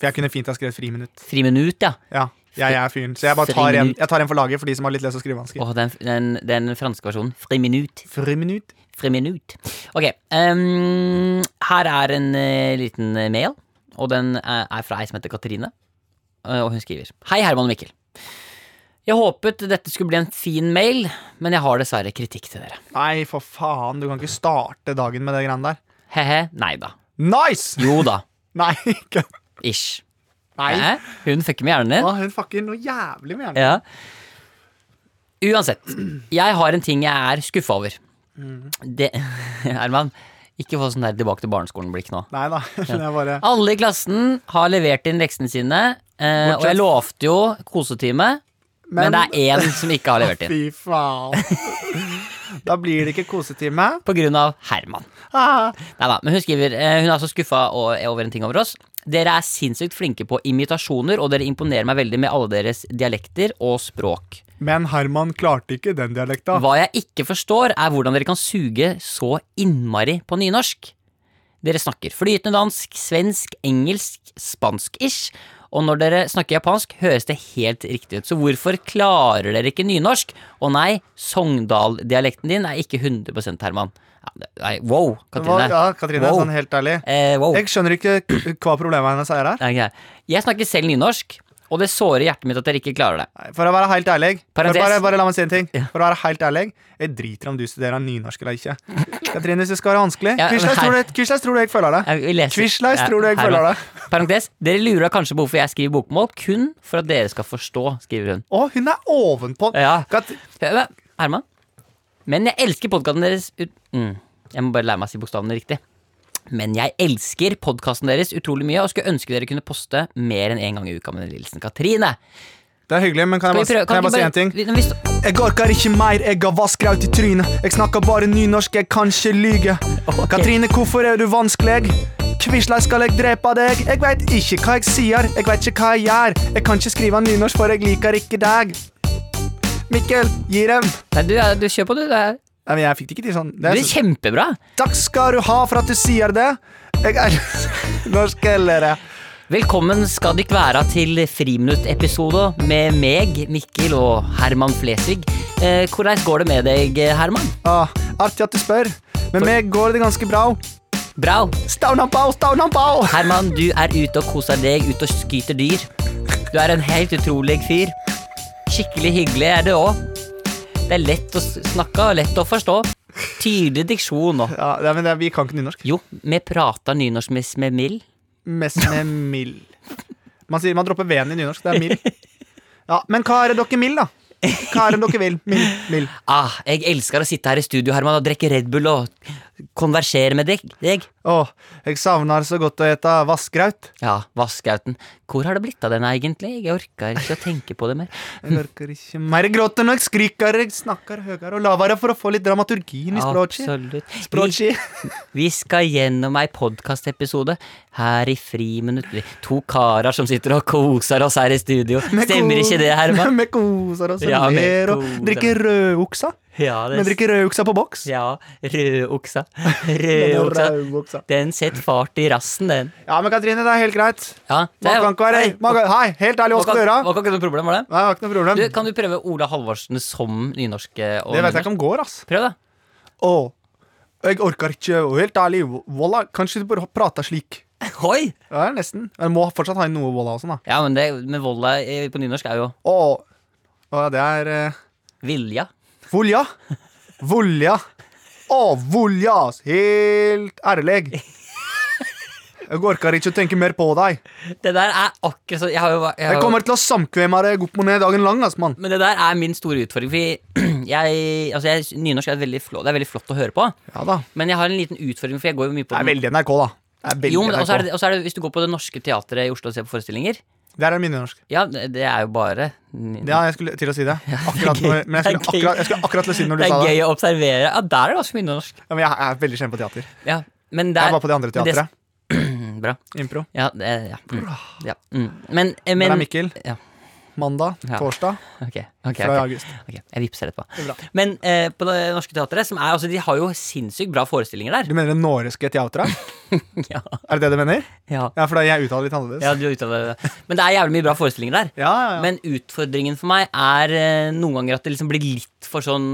[SPEAKER 3] For jeg kunne fint ha skrevet friminutt.
[SPEAKER 2] Friminutt, ja.
[SPEAKER 3] Ja, jeg, jeg er fyren. Så jeg bare tar en,
[SPEAKER 2] Friminutt.
[SPEAKER 3] jeg tar en for laget for de som har litt lese- og skrivevansker.
[SPEAKER 2] Åh, den, den, den franske versjonen. Friminutt.
[SPEAKER 3] Friminutt.
[SPEAKER 2] Friminutt. Ok. ehm, her er en eh, liten eh, mail, og den eh, er fra ei som heter Katrine. Eh, og hun skriver Hei, Herman og Mikkel. Jeg håpet dette skulle bli en fin mail, men jeg har dessverre kritikk til dere.
[SPEAKER 3] Nei, for faen, du kan ikke starte dagen med det greiene der.
[SPEAKER 2] He-he. Nei da.
[SPEAKER 3] Nice!
[SPEAKER 2] Jo da.
[SPEAKER 3] Nei, ikke
[SPEAKER 2] Ish.
[SPEAKER 3] Nei.
[SPEAKER 2] Hæ? Hun fucker med hjernen din.
[SPEAKER 3] Å, Hun fucker noe jævlig med hjernen.
[SPEAKER 2] Ja. Uansett, jeg har en ting jeg er skuffa over. Det Herman, ikke få sånn der tilbake til barneskolen-blikk nå.
[SPEAKER 3] Nei da. men Jeg bare
[SPEAKER 2] Alle i klassen har levert inn leksene sine, eh, og jeg lovte jo kosetime, men, det er én som ikke har levert inn.
[SPEAKER 3] Fy faen. Da blir det ikke kosetime.
[SPEAKER 2] På grunn av Herman.
[SPEAKER 3] Ah.
[SPEAKER 2] Neida, men hun skriver eh, Hun er altså skuffa og- over en ting over oss. Dere er sinnssykt flinke på imitasjoner, og dere imponerer meg veldig med alle deres dialekter og språk.
[SPEAKER 3] Men Herman klarte ikke den dialekta.
[SPEAKER 2] Hva jeg ikke forstår, er hvordan dere kan suge så innmari på nynorsk. Dere snakker flytende dansk, svensk, engelsk, spansk-ish. Og når dere snakker japansk, høres det helt riktig ut. Så hvorfor klarer dere ikke nynorsk? Og nei, Sogndal-dialekten din er ikke 100 Herman. Ja, det- Nei, wow, Katrine.
[SPEAKER 3] Hva- Ja, Katrine,
[SPEAKER 2] wow.
[SPEAKER 3] sånn helt ærlig.
[SPEAKER 2] eh, wow.
[SPEAKER 3] Jeg skjønner ikke k- hva problemet hennes er her.
[SPEAKER 2] Nei, grei. Jeg snakker selv nynorsk, og det sårer hjertet mitt at dere ikke klarer det.
[SPEAKER 3] Nei, For å være helt ærlig for
[SPEAKER 2] Parentes.
[SPEAKER 3] bare, bare la meg si en ting For å være helt ærlig Jeg driter om du studerer nynorsk eller ikke Katrine, hvis det skal være vanskelig
[SPEAKER 2] Ja, men
[SPEAKER 3] Kvisleis
[SPEAKER 2] her-
[SPEAKER 3] tror, du- Quisleis tror du jeg føler det
[SPEAKER 2] Jeg vil lese-
[SPEAKER 3] Quisleis
[SPEAKER 2] Ja,
[SPEAKER 3] tror du jeg
[SPEAKER 2] her
[SPEAKER 3] føler
[SPEAKER 2] nå.
[SPEAKER 3] det
[SPEAKER 2] Parentes. Dere lurer kanskje på hvorfor jeg skriver bokmål, kun for at dere skal forstå, skriver hun.
[SPEAKER 3] Å, hun er ovenpå
[SPEAKER 2] Ja.
[SPEAKER 3] Kat-
[SPEAKER 2] Eh, Herman? Men jeg elsker podkasten deres ut... mm. Jeg må bare lære meg å si bokstavene riktig. Men jeg elsker podkasten deres utrolig mye og skulle ønske dere kunne poste mer enn én gang i uka med Lilsen Katrine.
[SPEAKER 3] Det er hyggelig, men kan jeg
[SPEAKER 2] Skal vi prøve-
[SPEAKER 3] bare, kan jeg
[SPEAKER 2] ikke
[SPEAKER 3] bare si en ting?
[SPEAKER 2] Vi, vi, st-
[SPEAKER 3] Jeg orker ikke mer, jeg har vaskeraut i trynet Jeg snakker bare nynorsk, jeg kan ikke lyge Katrine, hvorfor er du vanskelig? Quisleis skal jeg drepe deg Jeg vet ikke hva jeg sier, jeg vet ikke hva jeg gjør Jeg kan ikke skrive nynorsk, for jeg liker ikke deg Mikkel, gi dem
[SPEAKER 2] nei, du, er- du kjør på, du. Det er,
[SPEAKER 3] Nei, men jeg fikk det ikke til sånn.
[SPEAKER 2] du
[SPEAKER 3] Det
[SPEAKER 2] er
[SPEAKER 3] er,
[SPEAKER 2] kjempebra.
[SPEAKER 3] takk skal du ha for at du sier det. Jeg er norsk ellere.
[SPEAKER 2] Velkommen skal dykk være til Friminutt-episode med meg, Mikkel og Herman Flesvig. Eh, hvordan går det med deg, Herman?
[SPEAKER 3] Ah, artig at du spør. Med meg går det ganske bra.
[SPEAKER 2] Bra!
[SPEAKER 3] Staunambau, Staunambau!
[SPEAKER 2] Herman, du er ute og koser deg, ute og skyter dyr. Du er en helt utrolig fyr. Skikkelig hyggelig er det òg. Det er lett å s- snakke og lett å forstå. Tydelig diksjon òg.
[SPEAKER 3] Ja, nei, men det, vi kan ikke nynorsk.
[SPEAKER 2] Jo, vi prater nynorsk med med mild.
[SPEAKER 3] Mest med mild. Man sier man dropper V-en i nynorsk. Det er mild. Ja, men hva er det dere mild, da? Hva er det dere vil? Mild. mild.
[SPEAKER 2] Ah, jeg elsker å sitte her i studio, Herman, og drikke Red Bull og konversere med deg. deg.
[SPEAKER 3] Åh, jeg savner så godt å ete vassgraut.
[SPEAKER 2] Ja, Vaskeauten. Hvor har det blitt av den egentlig? Jeg orker ikke å tenke på det mer.
[SPEAKER 3] Jeg orker ikke mer gråte når jeg skriker, jeg snakker høyere og lavere for å få litt dramaturgi inn i språket.
[SPEAKER 2] Absolutt. Vi,
[SPEAKER 3] Språket.
[SPEAKER 2] vi skal gjennom ei podkastepisode her i friminutt. Vi- To karer som sitter og koser oss her i studio.
[SPEAKER 3] Vi
[SPEAKER 2] Stemmer
[SPEAKER 3] kos-
[SPEAKER 2] ikke det, Herman?
[SPEAKER 3] Vi koser oss og
[SPEAKER 2] Ja, vi
[SPEAKER 3] ler og
[SPEAKER 2] koser.
[SPEAKER 3] drikker rødoksa.
[SPEAKER 2] Ja,
[SPEAKER 3] Vi drikker rødoksa på boks.
[SPEAKER 2] ja rødoksa.
[SPEAKER 3] Den er
[SPEAKER 2] Rødoksa.
[SPEAKER 3] rødoksa.
[SPEAKER 2] Den setter fart i rassen, den.
[SPEAKER 3] Ja, men Katrine, det er helt greit.
[SPEAKER 2] Ja,
[SPEAKER 3] Man kan ikke være man kan, Hei, helt ærlig, hva skal du gjøre? Nei,
[SPEAKER 2] Var ikke noe problem, var det?
[SPEAKER 3] jeg har ikke noe problem.
[SPEAKER 2] Du, kan du prøve Ola Halvorsen som nynorsk? eh, Og
[SPEAKER 3] Det vet jeg ikke om går, ass.
[SPEAKER 2] Prøv, da.
[SPEAKER 3] Åh, jeg orker ikke, og helt ærlig, voila, kanskje du bare prater slik.
[SPEAKER 2] Hoi!
[SPEAKER 3] Ja, nesten. Jeg må fortsatt ha inn noe voila og sånn, da.
[SPEAKER 2] Ja, men det med volla eh, på nynorsk er jo
[SPEAKER 3] Åh, åh, det er eh,
[SPEAKER 2] vilja.
[SPEAKER 3] volja. Volja. Åh, volja, ass. Helt ærlig. Jeg orker ikke å tenke mer på deg.
[SPEAKER 2] Det der er akkurat sånn jeg har jo, jeg har
[SPEAKER 3] Jeg
[SPEAKER 2] jo-
[SPEAKER 3] kommer til å samkvemme deg opp og ned dagen lang, ass, mann.
[SPEAKER 2] Men det der er min store utfordring. Fordi jeg, altså jeg, nynorsk er et veldig flott, det er veldig flott å høre på.
[SPEAKER 3] Ja da.
[SPEAKER 2] Men jeg har en liten utfordring, for jeg går jo mye på
[SPEAKER 3] Det er veldig NRK, da. Det er veldig
[SPEAKER 2] Jo, men
[SPEAKER 3] NRK.
[SPEAKER 2] også er det, også er det, Hvis du går på Det Norske Teatret i Oslo og ser på forestillinger
[SPEAKER 3] Der er min nynorsk.
[SPEAKER 2] Ja, det det er jo bare
[SPEAKER 3] Ja, jeg skulle til å si det. Akkurat når, men jeg
[SPEAKER 2] det er
[SPEAKER 3] skulle
[SPEAKER 2] gøy.
[SPEAKER 3] akkurat, jeg skulle akkurat til å si det når du
[SPEAKER 2] Det
[SPEAKER 3] sa
[SPEAKER 2] er
[SPEAKER 3] det.
[SPEAKER 2] gøy å observere. Ja, der er det også mye norsk.
[SPEAKER 3] Ja, men jeg er veldig kjent på teater.
[SPEAKER 2] Ja, men det
[SPEAKER 3] Jeg
[SPEAKER 2] er
[SPEAKER 3] var på det andre
[SPEAKER 2] men det-
[SPEAKER 3] teatret.
[SPEAKER 2] Bra.
[SPEAKER 3] Impro.
[SPEAKER 2] Ja, det, ja. Mm, ja. Mm. Men, eh,
[SPEAKER 3] Der
[SPEAKER 2] men
[SPEAKER 3] er Mikkel.
[SPEAKER 2] ja.
[SPEAKER 3] Mandag,
[SPEAKER 2] Ja.
[SPEAKER 3] torsdag
[SPEAKER 2] Ok, ok,
[SPEAKER 3] fra i
[SPEAKER 2] ok.
[SPEAKER 3] august.
[SPEAKER 2] Ok, Jeg vippser
[SPEAKER 3] Det er
[SPEAKER 2] etterpå.
[SPEAKER 3] bra.
[SPEAKER 2] Men eh, på Det Norske Teatret, som er, altså, de har jo sinnssykt bra forestillinger der.
[SPEAKER 3] Du mener det norske teatret?
[SPEAKER 2] Ja.
[SPEAKER 3] Er det det du mener?
[SPEAKER 2] Ja.
[SPEAKER 3] Ja, for da jeg uttaler litt annerledes.
[SPEAKER 2] Ja, du har uttalt det. Men det er jævlig mye bra forestillinger der.
[SPEAKER 3] Ja, ja, ja.
[SPEAKER 2] Men utfordringen for meg er eh, noen ganger at det liksom blir litt for sånn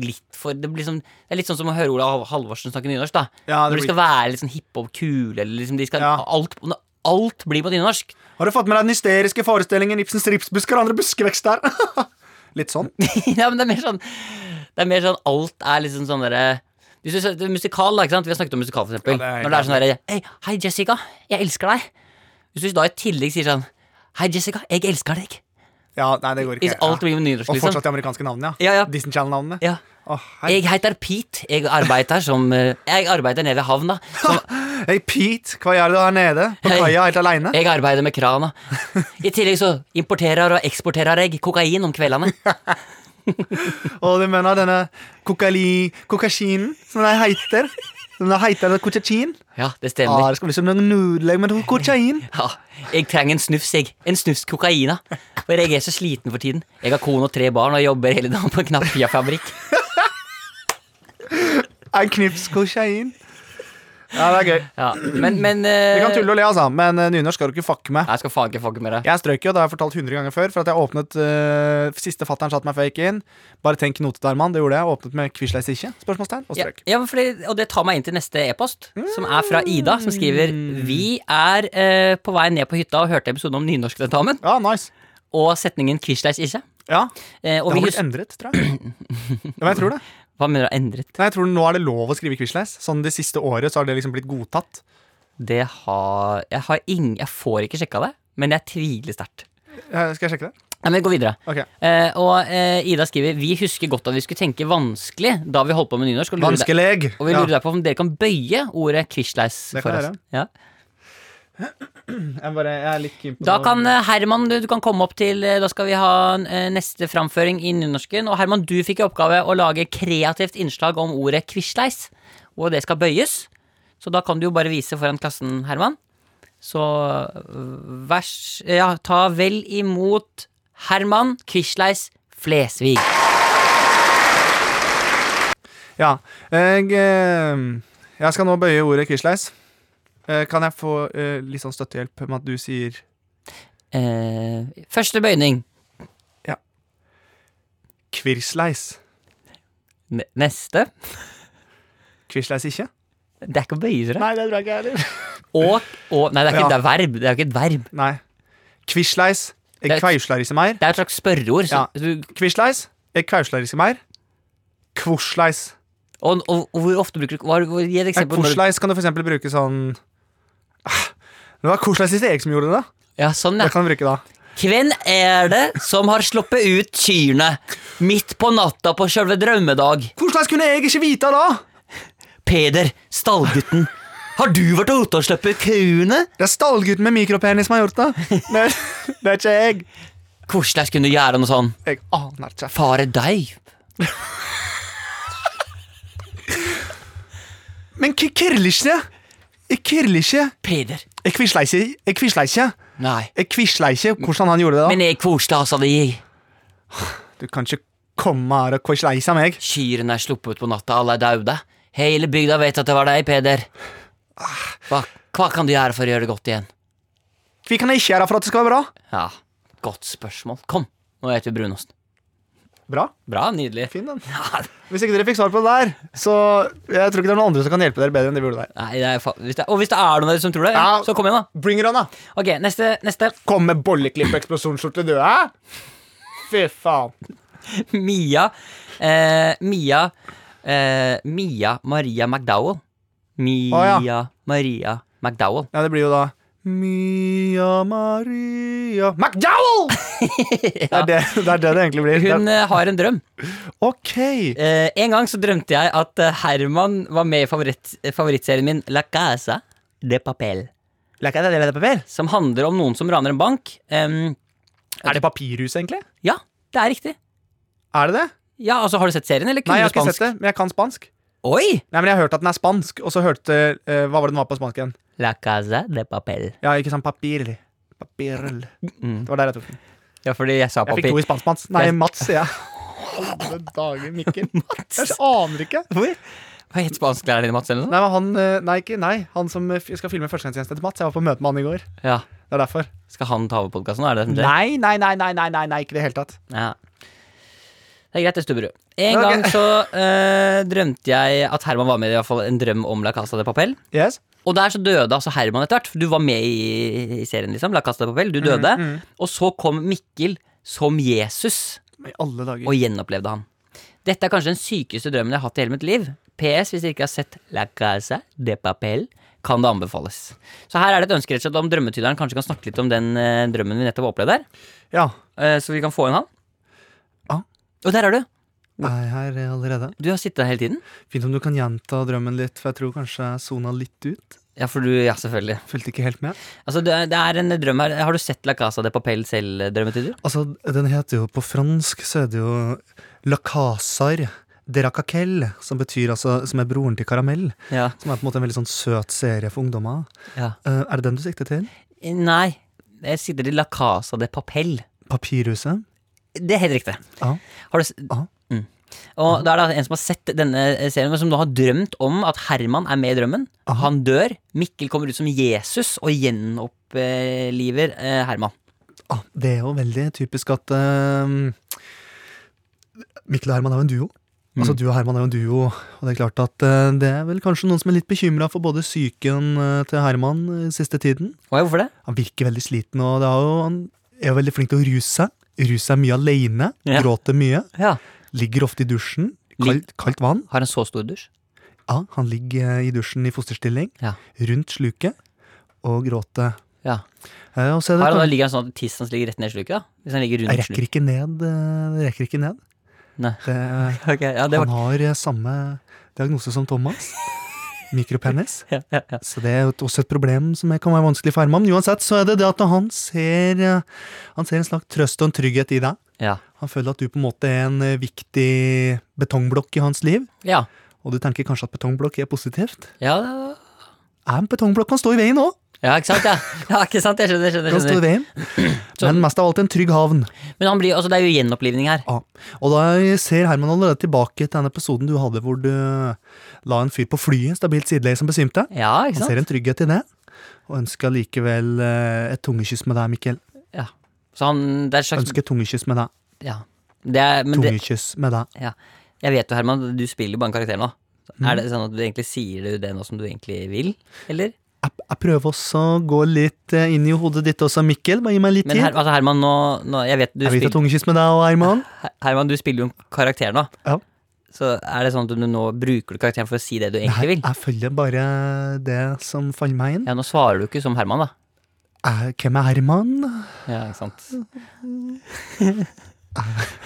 [SPEAKER 2] Litt for Det blir sånn Det er litt sånn som å høre Ola Hal- Halvorsen snakke nynorsk, da.
[SPEAKER 3] Ja,
[SPEAKER 2] Når
[SPEAKER 3] det
[SPEAKER 2] de
[SPEAKER 3] blir-
[SPEAKER 2] skal være litt sånn hippe og kule, eller liksom de skal
[SPEAKER 3] Ja.
[SPEAKER 2] alt, når alt blir på nynorsk.
[SPEAKER 3] Har du fått med deg den hysteriske forestillingen Ibsens ripsbusker og andre buskevekst der? litt sånn.
[SPEAKER 2] ja, men det er mer sånn Det er mer sånn alt er liksom sånn derre hvis du ser det er musikal, da, ikke sant? Vi har snakket om musikal, for eksempel.
[SPEAKER 3] Ja, det er
[SPEAKER 2] Når det er sånn derre Hei, hei, Jessica. Jeg elsker deg. Hvis du da i tillegg sier sånn Hei, Jessica. Jeg elsker deg.
[SPEAKER 3] Ja, nei, det går
[SPEAKER 2] Hvis
[SPEAKER 3] ikke.
[SPEAKER 2] alt
[SPEAKER 3] Ja.
[SPEAKER 2] blir med nynorsk,
[SPEAKER 3] Og
[SPEAKER 2] liksom.
[SPEAKER 3] fortsatt de amerikanske navnene,
[SPEAKER 2] Ja, ja.
[SPEAKER 3] Disney Channel-navnene.
[SPEAKER 2] Ja.
[SPEAKER 3] Åh, hei.
[SPEAKER 2] Jeg heter Pete. Jeg arbeider som eh, Jeg arbeider nede ved havna. Som,
[SPEAKER 3] Hei, Pete, hva gjør du her nede? På
[SPEAKER 2] Hei.
[SPEAKER 3] kaia helt aleine?
[SPEAKER 2] jeg arbeider med krana. I tillegg så importerer og eksporterer jeg kokain om kveldene.
[SPEAKER 3] Og du mener denne kokali... kokasjinen, som den heter? Den heter kokachin?
[SPEAKER 2] Ja, det
[SPEAKER 3] Ja,
[SPEAKER 2] stemmer.
[SPEAKER 3] det skal bli som noen nudler med kokain.
[SPEAKER 2] Ja, jeg trenger en snufs, jeg. En snufs kokaina. For jeg er så sliten for tiden. Jeg har kone og tre barn og jobber hele dagen på en knappiafabrikk.
[SPEAKER 3] En knips kokain. Ja, det er gøy.
[SPEAKER 2] Ja, men, men
[SPEAKER 3] Vi kan tulle og le, altså, men eh, nynorsk skal du ikke fucke med.
[SPEAKER 2] Jeg skal faen ikke fucke med deg.
[SPEAKER 3] Jeg strøk jo, det har jeg fortalt 100 ganger før, for at jeg åpnet eh, Siste fatteren satt meg fake inn. Bare tenk note der, mann. Det gjorde jeg. Åpnet med Quisleis ikke? Spørsmålstegn og
[SPEAKER 2] Ja,
[SPEAKER 3] strøk.
[SPEAKER 2] ja, men fordi, og det tar meg inn til neste e-post, som er fra Ida, som skriver
[SPEAKER 3] Mm.
[SPEAKER 2] Vi er eh, på vei ned på hytta og hørte episoden om nynorsktentamen.
[SPEAKER 3] Ja, nice.
[SPEAKER 2] og setningen 'Quisleis ikke'.
[SPEAKER 3] Ja,
[SPEAKER 2] Eh, og
[SPEAKER 3] Det
[SPEAKER 2] vi
[SPEAKER 3] har blitt
[SPEAKER 2] husker,
[SPEAKER 3] endret, tror jeg. Ja, men jeg tror det.
[SPEAKER 2] hva mener du endret?
[SPEAKER 3] Nei, jeg tror Nå er det lov å skrive Quisleis. Sånn Det siste året så har det liksom blitt godtatt.
[SPEAKER 2] Det har Jeg har ing, Jeg får ikke sjekka det, men jeg tviler sterkt.
[SPEAKER 3] Eh, Skal jeg sjekke det?
[SPEAKER 2] Nei, men gå videre.
[SPEAKER 3] Ok
[SPEAKER 2] Eh, og eh, Ida skriver Vi husker godt at vi skulle tenke vanskelig da vi holdt på med nynorsk. Og lurer deg-
[SPEAKER 3] Vanskelig.
[SPEAKER 2] og vi lurer
[SPEAKER 3] Ja.
[SPEAKER 2] deg på om dere kan bøye ordet 'Quisleis'
[SPEAKER 3] Det
[SPEAKER 2] for
[SPEAKER 3] kan jeg
[SPEAKER 2] oss.
[SPEAKER 3] gjøre.
[SPEAKER 2] Ja.
[SPEAKER 3] Jeg, bare, jeg er litt keen på
[SPEAKER 2] Da
[SPEAKER 3] noe.
[SPEAKER 2] kan eh, Herman du, du kan komme opp til eh, Da skal vi ha eh, neste framføring i nynorsken. Og Herman, du fikk i oppgave å lage kreativt innslag om ordet 'Quisleis'. Og det skal bøyes. Så da kan du jo bare vise foran klassen, Herman. Så øh, vær s- Ja, ta vel imot Herman Quisleis Flesvig.
[SPEAKER 3] Ja. Jeg, eh, jeg skal nå bøye ordet Quisleis. Eh, Kan jeg få eh, litt sånn støttehjelp med at du sier
[SPEAKER 2] Eh, første bøyning.
[SPEAKER 3] Kvirsleis?
[SPEAKER 2] Ne- Neste.
[SPEAKER 3] Quisleis ikke?
[SPEAKER 2] Det er ikke å bøye seg.
[SPEAKER 3] Nei, det tror jeg ikke jeg heller.
[SPEAKER 2] Og, og Nei, det er ikke
[SPEAKER 3] Ja.
[SPEAKER 2] det er verb. Det er jo ikke et verb.
[SPEAKER 3] Nei. Quisleis,
[SPEAKER 2] Det
[SPEAKER 3] jeg
[SPEAKER 2] er-
[SPEAKER 3] kvausler ikke mer.
[SPEAKER 2] Det er et slags spørreord. Så,
[SPEAKER 3] Ja. Quisleis, jeg kvausler ikke mer. Kvosleis.
[SPEAKER 2] og, og, og hvor ofte bruker du hva- hvor- Gi et
[SPEAKER 3] Ja,
[SPEAKER 2] eksempel. på når du-
[SPEAKER 3] Kvosleis Eh, kan du for eksempel bruke sånn Ah, Det var kvosleis hvis det er jeg som gjorde det.
[SPEAKER 2] Ja, sånn, ja.
[SPEAKER 3] Det kan du bruke da.
[SPEAKER 2] Hvem er det som har sluppet ut kyrne midt på natta på sjølve drømmedag?
[SPEAKER 3] Kvosleis kunne jeg ikke vite da?
[SPEAKER 2] Peder, stallgutten. Har du vært ute og sluppet kuene?
[SPEAKER 3] Det er stallgutten med mikropenis som har gjort det. Det, det er ikke jeg.
[SPEAKER 2] Hvordan skulle du gjøre noe sånn?
[SPEAKER 3] Jeg aner ikke.
[SPEAKER 2] Fare deg.
[SPEAKER 3] Men hva kirler ikke? Jeg kirler ikke.
[SPEAKER 2] Peder.
[SPEAKER 3] Jeg kvisler ikke. Jeg kvisler ikke.
[SPEAKER 2] Nei.
[SPEAKER 3] Jeg kvisler ikke hvordan han gjorde det.
[SPEAKER 2] Men jeg kosla altså de
[SPEAKER 3] da Du kan ikke komme her og kvisleise meg.
[SPEAKER 2] kyrne er sluppet ut på natta, alle er daude. Hele bygda vet at det var deg, Peder. Hva, hva kan du gjøre for å gjøre det godt igjen?
[SPEAKER 3] Hva kan jeg ikke gjøre for at det skal være bra?
[SPEAKER 2] Ja, godt spørsmål. Kom, nå spiser vi brunost.
[SPEAKER 3] Bra.
[SPEAKER 2] Bra, nydelig.
[SPEAKER 3] Fin den. Hvis ikke dere fikk svar på det der, så jeg tror ikke det er noen andre som kan hjelpe dere bedre enn det vi gjorde der.
[SPEAKER 2] Nei, det er fa hvis det, og hvis det er noen av dere som tror det,
[SPEAKER 3] Ja.
[SPEAKER 2] så kom igjen, da.
[SPEAKER 3] Bring it on, da.
[SPEAKER 2] Ok, neste. neste.
[SPEAKER 3] Kom med bolleklipp og eksplosjonsskjorte, du, hæ? Fy faen.
[SPEAKER 2] Mia eh, Mia eh, Mia Maria McDowell. Mia
[SPEAKER 3] Å,
[SPEAKER 2] Maria McDowell.
[SPEAKER 3] Ja, det blir jo da Mia Maria McDowell! det, er det, det er det det egentlig blir.
[SPEAKER 2] Hun
[SPEAKER 3] Det-
[SPEAKER 2] eh, har en drøm.
[SPEAKER 3] Ok.
[SPEAKER 2] Eh, en gang så drømte jeg at eh, Herman var med i favoritt, eh, favorittserien min La Casa de Papel. Som handler om noen som raner en bank. Em,
[SPEAKER 3] Er det papirhus, egentlig?
[SPEAKER 2] ja, det er riktig.
[SPEAKER 3] Er det det?
[SPEAKER 2] Ja, altså Har du sett serien, eller
[SPEAKER 3] Nei,
[SPEAKER 2] kunne
[SPEAKER 3] jeg
[SPEAKER 2] du
[SPEAKER 3] har ikke sett
[SPEAKER 2] spansk?
[SPEAKER 3] det, men jeg kan spansk.
[SPEAKER 2] Oi!
[SPEAKER 3] Nei, men jeg har hørt at den er spansk, og så hørte eh, Hva var det den var på spansk igjen?
[SPEAKER 2] La Casa de Papel.
[SPEAKER 3] Ja, ikke sant? Papir. Papir. Det var der jeg tok den.
[SPEAKER 2] Ja, fordi jeg sa
[SPEAKER 3] Jeg fikk to
[SPEAKER 2] papir.
[SPEAKER 3] i spansk, Mats. Nei, Mats, sier jeg. Alle dager, Mikkel. Jeg aner ikke. Hvor?
[SPEAKER 2] Hva het spansklæreren din, Mats? Eller noe?
[SPEAKER 3] Nei, men han, eh, nei, ikke, nei, han som eh, f- skal filme førstegangstjeneste til Mats. Jeg var på møte med han i går.
[SPEAKER 2] Ja.
[SPEAKER 3] Det er derfor.
[SPEAKER 2] Skal han ta over podkasten? Er det det som skjer?
[SPEAKER 3] Nei, nei, nei, nei, nei, nei, nei ikke i det hele tatt.
[SPEAKER 2] Ja. Det er greit, det, Stubberud. En
[SPEAKER 3] Ok.
[SPEAKER 2] gang så eh, drømte jeg at Herman var med i hvert fall en drøm om La Casa de Papel.
[SPEAKER 3] Yes?
[SPEAKER 2] Og der så døde altså Herman etter hvert. for Du var med i, i serien, liksom. La Casa de Papel. Du døde. Og så kom Mikkel som Jesus
[SPEAKER 3] I alle dager.
[SPEAKER 2] og gjenopplevde han. Dette er kanskje den sykeste drømmen jeg har hatt i hele mitt liv. PS, hvis dere ikke har sett La Casa de Papel, kan det anbefales. Så her er det et ønske rett og slett om drømmetyderen kanskje kan snakke litt om den eh, drømmen vi nettopp opplevde her.
[SPEAKER 3] Ja.
[SPEAKER 2] Eh, så vi kan få inn han.
[SPEAKER 3] Ja.
[SPEAKER 2] Og der er du!
[SPEAKER 3] Jeg er her allerede.
[SPEAKER 2] Du har sittet her hele tiden?
[SPEAKER 3] Fint om du kan gjenta drømmen litt, for jeg tror kanskje jeg sona litt ut.
[SPEAKER 2] Ja, for du, ja, selvfølgelig.
[SPEAKER 3] Fulgte ikke helt med.
[SPEAKER 2] Altså, det, er- det er en drøm her. Har du sett La Casa de Papel selv, eh, drømmetyder?
[SPEAKER 3] Altså, den heter jo på fransk, så er det jo La Casar de Racaquel, som betyr altså Som er broren til Karamell.
[SPEAKER 2] Ja.
[SPEAKER 3] Som er på en måte en veldig sånn søt serie for ungdommer.
[SPEAKER 2] ja.
[SPEAKER 3] Eh, er det den du sikter til?
[SPEAKER 2] Nei, jeg sitter i La Casa de Papel.
[SPEAKER 3] Papirhuset?
[SPEAKER 2] Det er helt riktig.
[SPEAKER 3] Ja.
[SPEAKER 2] Har du s
[SPEAKER 3] Ja.
[SPEAKER 2] mm. Og da er det en som har sett denne serien, men som nå har drømt om at Herman er med i drømmen. Han dør. Mikkel kommer ut som Jesus og gjenoppliver eh, Herman.
[SPEAKER 3] Ah, det er jo veldig typisk at eh, Mikkel og Herman er jo en duo.
[SPEAKER 2] Mm.
[SPEAKER 3] Altså, Du og Herman er jo en duo, og det er klart at eh, det er vel kanskje noen som er litt bekymra for både psyken eh, til Herman eh, siste tiden.
[SPEAKER 2] Oi, hvorfor det?
[SPEAKER 3] Han virker veldig sliten, og det er jo, han er jo veldig flink til å ruse seg. Ruse seg mye aleine,
[SPEAKER 2] Ja.
[SPEAKER 3] gråter mye.
[SPEAKER 2] Ja.
[SPEAKER 3] Ligger ofte i dusjen.
[SPEAKER 2] Lig-
[SPEAKER 3] Kaldt, kaldt vann.
[SPEAKER 2] Har en så stor dusj?
[SPEAKER 3] Ja, han ligger eh, i dusjen i fosterstilling,
[SPEAKER 2] Ja.
[SPEAKER 3] rundt sluket, og gråter.
[SPEAKER 2] ja.
[SPEAKER 3] Eh, og så er det
[SPEAKER 2] Her, da
[SPEAKER 3] kan-
[SPEAKER 2] ligger han sånn at tissen hans ligger rett ned i sluket? da? Hvis han ligger rundt
[SPEAKER 3] jeg rekker ikke ned. eh, jeg Rekker ikke ned.
[SPEAKER 2] Nei.
[SPEAKER 3] Det,
[SPEAKER 2] sluket. Ok, ja, det var
[SPEAKER 3] Han har eh, samme diagnose som Thomas. Mikropenis.
[SPEAKER 2] ja, ja, ja.
[SPEAKER 3] Så det er jo et- også et problem som kan være vanskelig for Herman. Men uansett så er det det at han ser, eh, han ser en slags trøst og en trygghet i deg.
[SPEAKER 2] Ja.
[SPEAKER 3] Han føler at du på en måte er en eh, viktig betongblokk i hans liv.
[SPEAKER 2] ja.
[SPEAKER 3] Og du tenker kanskje at betongblokk er positivt?
[SPEAKER 2] Ja, det-
[SPEAKER 3] Ja, men betongblokk kan stå i veien òg!
[SPEAKER 2] ja, ikke sant? Ja. ja, ikke sant? Jeg skjønner. skjønner,
[SPEAKER 3] Kan stå i
[SPEAKER 2] skjønner.
[SPEAKER 3] veien. Men mest av alt en trygg havn.
[SPEAKER 2] Men han blir, altså, det er jo gjenopplivning her.
[SPEAKER 3] Ja. Og da ser Herman allerede tilbake til den episoden du hadde hvor du eh, la en fyr på flyet stabilt sideleie som besvimte.
[SPEAKER 2] Ja, ikke
[SPEAKER 3] Han
[SPEAKER 2] sant?
[SPEAKER 3] ser en trygghet i det, og ønsker likevel eh, et tungekyss med deg, Mikkel.
[SPEAKER 2] Ja. Så han, det er et slags
[SPEAKER 3] Ønsker tungekyss med deg.
[SPEAKER 2] ja. det er, men det,
[SPEAKER 3] Tungekyss med deg.
[SPEAKER 2] ja. Jeg vet jo, Herman, du spiller jo bare en karakter nå. Så
[SPEAKER 3] Mhm.
[SPEAKER 2] Er det sånn at du egentlig sier du det nå som du egentlig vil, eller?
[SPEAKER 3] Jeg, jeg prøver også å gå litt eh, inn i hodet ditt også, Mikkel. Bare gi meg litt
[SPEAKER 2] Men
[SPEAKER 3] tid.
[SPEAKER 2] her, altså Herman, nå, nå jeg vet, du
[SPEAKER 3] jeg vil ta
[SPEAKER 2] spiller,
[SPEAKER 3] tungekyss med deg og Herman.
[SPEAKER 2] Her- Herman, du spiller jo en karakter nå.
[SPEAKER 3] Ja.
[SPEAKER 2] Så er det sånn at du nå bruker du karakteren for å si det du egentlig
[SPEAKER 3] Nei,
[SPEAKER 2] vil?
[SPEAKER 3] jeg følger bare det som fant meg inn.
[SPEAKER 2] Ja, nå svarer du ikke som Herman, da.
[SPEAKER 3] Jeg, hvem er Herman?
[SPEAKER 2] Ja, ikke sant.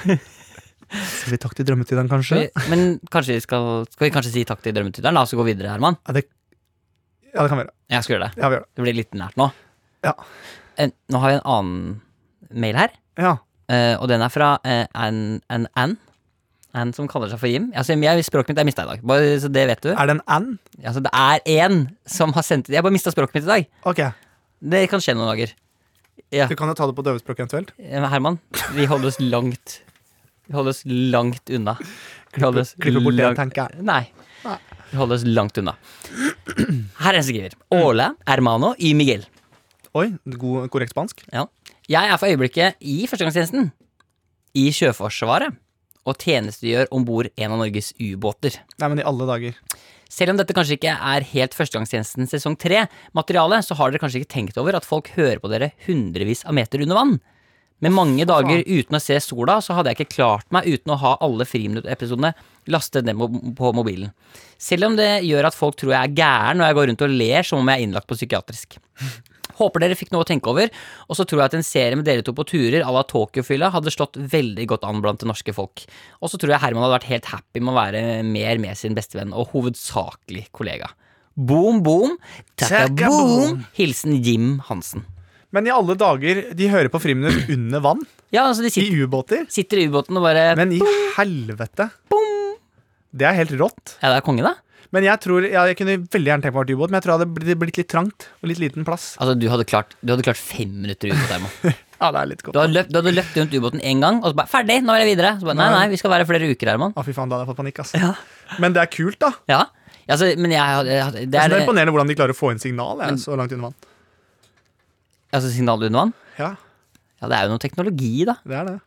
[SPEAKER 3] Sier vi takk til drømmetyderen,
[SPEAKER 2] Skal
[SPEAKER 3] kanskje?
[SPEAKER 2] vi, men kanskje vi skal, skal vi kanskje si takk til drømmetyderen, da, og så gå videre, Herman?
[SPEAKER 3] Ja, det, ja, det kan være.
[SPEAKER 2] Jeg skal gjøre det.
[SPEAKER 3] Ja, vi gjør det.
[SPEAKER 2] Det blir litt nært nå.
[SPEAKER 3] Ja.
[SPEAKER 2] En, nå har vi en annen mail her,
[SPEAKER 3] Ja.
[SPEAKER 2] eh, og den er fra eh, Ann Ann Ann. Ann som kaller seg for Jim. Altså, jeg, språket mitt er mista i dag, bare så det vet du.
[SPEAKER 3] Er det en N?
[SPEAKER 2] Altså, det er én som har sendt Jeg bare mista språket mitt i dag.
[SPEAKER 3] Ok,
[SPEAKER 2] Det kan skje noen dager.
[SPEAKER 3] du kan jo ta det på døvespråk eventuelt.
[SPEAKER 2] Eh, Herman, vi holder oss langt Vi holder oss langt unna. Vi holder oss
[SPEAKER 3] Klippe bort det,
[SPEAKER 2] langt-
[SPEAKER 3] tenker jeg.
[SPEAKER 2] Nei. Vi holder oss langt unna. Her er en som skriver. Ole Hermano y Miguel.
[SPEAKER 3] Oi, god, korrekt spansk.
[SPEAKER 2] Ja. Jeg er for øyeblikket i førstegangstjenesten i Sjøforsvaret og tjenestegjør om bord en av Norges ubåter.
[SPEAKER 3] Nei, men i alle dager.
[SPEAKER 2] Selv om dette kanskje ikke er helt førstegangstjenesten sesong tre-materiale, så har dere kanskje ikke tenkt over at folk hører på dere hundrevis av meter under vann. Med mange dager uten å se sola, så hadde jeg ikke klart meg uten å ha alle friminuttepisodene lastet ned mo- på mobilen. Selv om det gjør at folk tror jeg er gæren når jeg går rundt og ler som om jeg er innlagt på psykiatrisk. Håper dere fikk noe å tenke over, og så tror jeg at en serie med dere to på turer à la Tokyo-fylla hadde slått veldig godt an blant det norske folk. Og så tror jeg Herman hadde vært helt happy med å være mer med sin bestevenn og hovedsakelig kollega. Boom, boom, takka
[SPEAKER 3] Takka
[SPEAKER 2] boom!
[SPEAKER 3] boom.
[SPEAKER 2] Hilsen Jim Hansen.
[SPEAKER 3] Men i alle dager, de hører på friminutt under vann,
[SPEAKER 2] Ja, altså de
[SPEAKER 3] i
[SPEAKER 2] sitter,
[SPEAKER 3] ubåter.
[SPEAKER 2] sitter i ubåten og bare
[SPEAKER 3] Men i helvete! Det er helt rått.
[SPEAKER 2] Ja, det er konge, da.
[SPEAKER 3] Men jeg tror, ja, jeg kunne veldig gjerne tenkt meg å vært ubåt, men jeg tror det hadde blitt- blitt litt trangt og litt liten plass.
[SPEAKER 2] Altså, du hadde klart, du hadde klart fem minutter i ubåt, Herman.
[SPEAKER 3] Ja, det er litt godt.
[SPEAKER 2] Du hadde løpt, du hadde løpt rundt ubåten én gang, og så bare 'ferdig, nå er jeg videre'. Så bare, nei, nei, vi skal være flere uker, Herman.
[SPEAKER 3] Å, fy faen, da hadde jeg fått panikk, ass. Men det er kult, da.
[SPEAKER 2] Ja, altså, men jeg hadde Det
[SPEAKER 3] Altså, det er
[SPEAKER 2] er
[SPEAKER 3] imponerende hvordan de klarer å få inn signal jeg, så langt under vann.
[SPEAKER 2] altså, signalet under vann.
[SPEAKER 3] Ja,
[SPEAKER 2] Ja, det er jo noe teknologi, da.
[SPEAKER 3] det er det.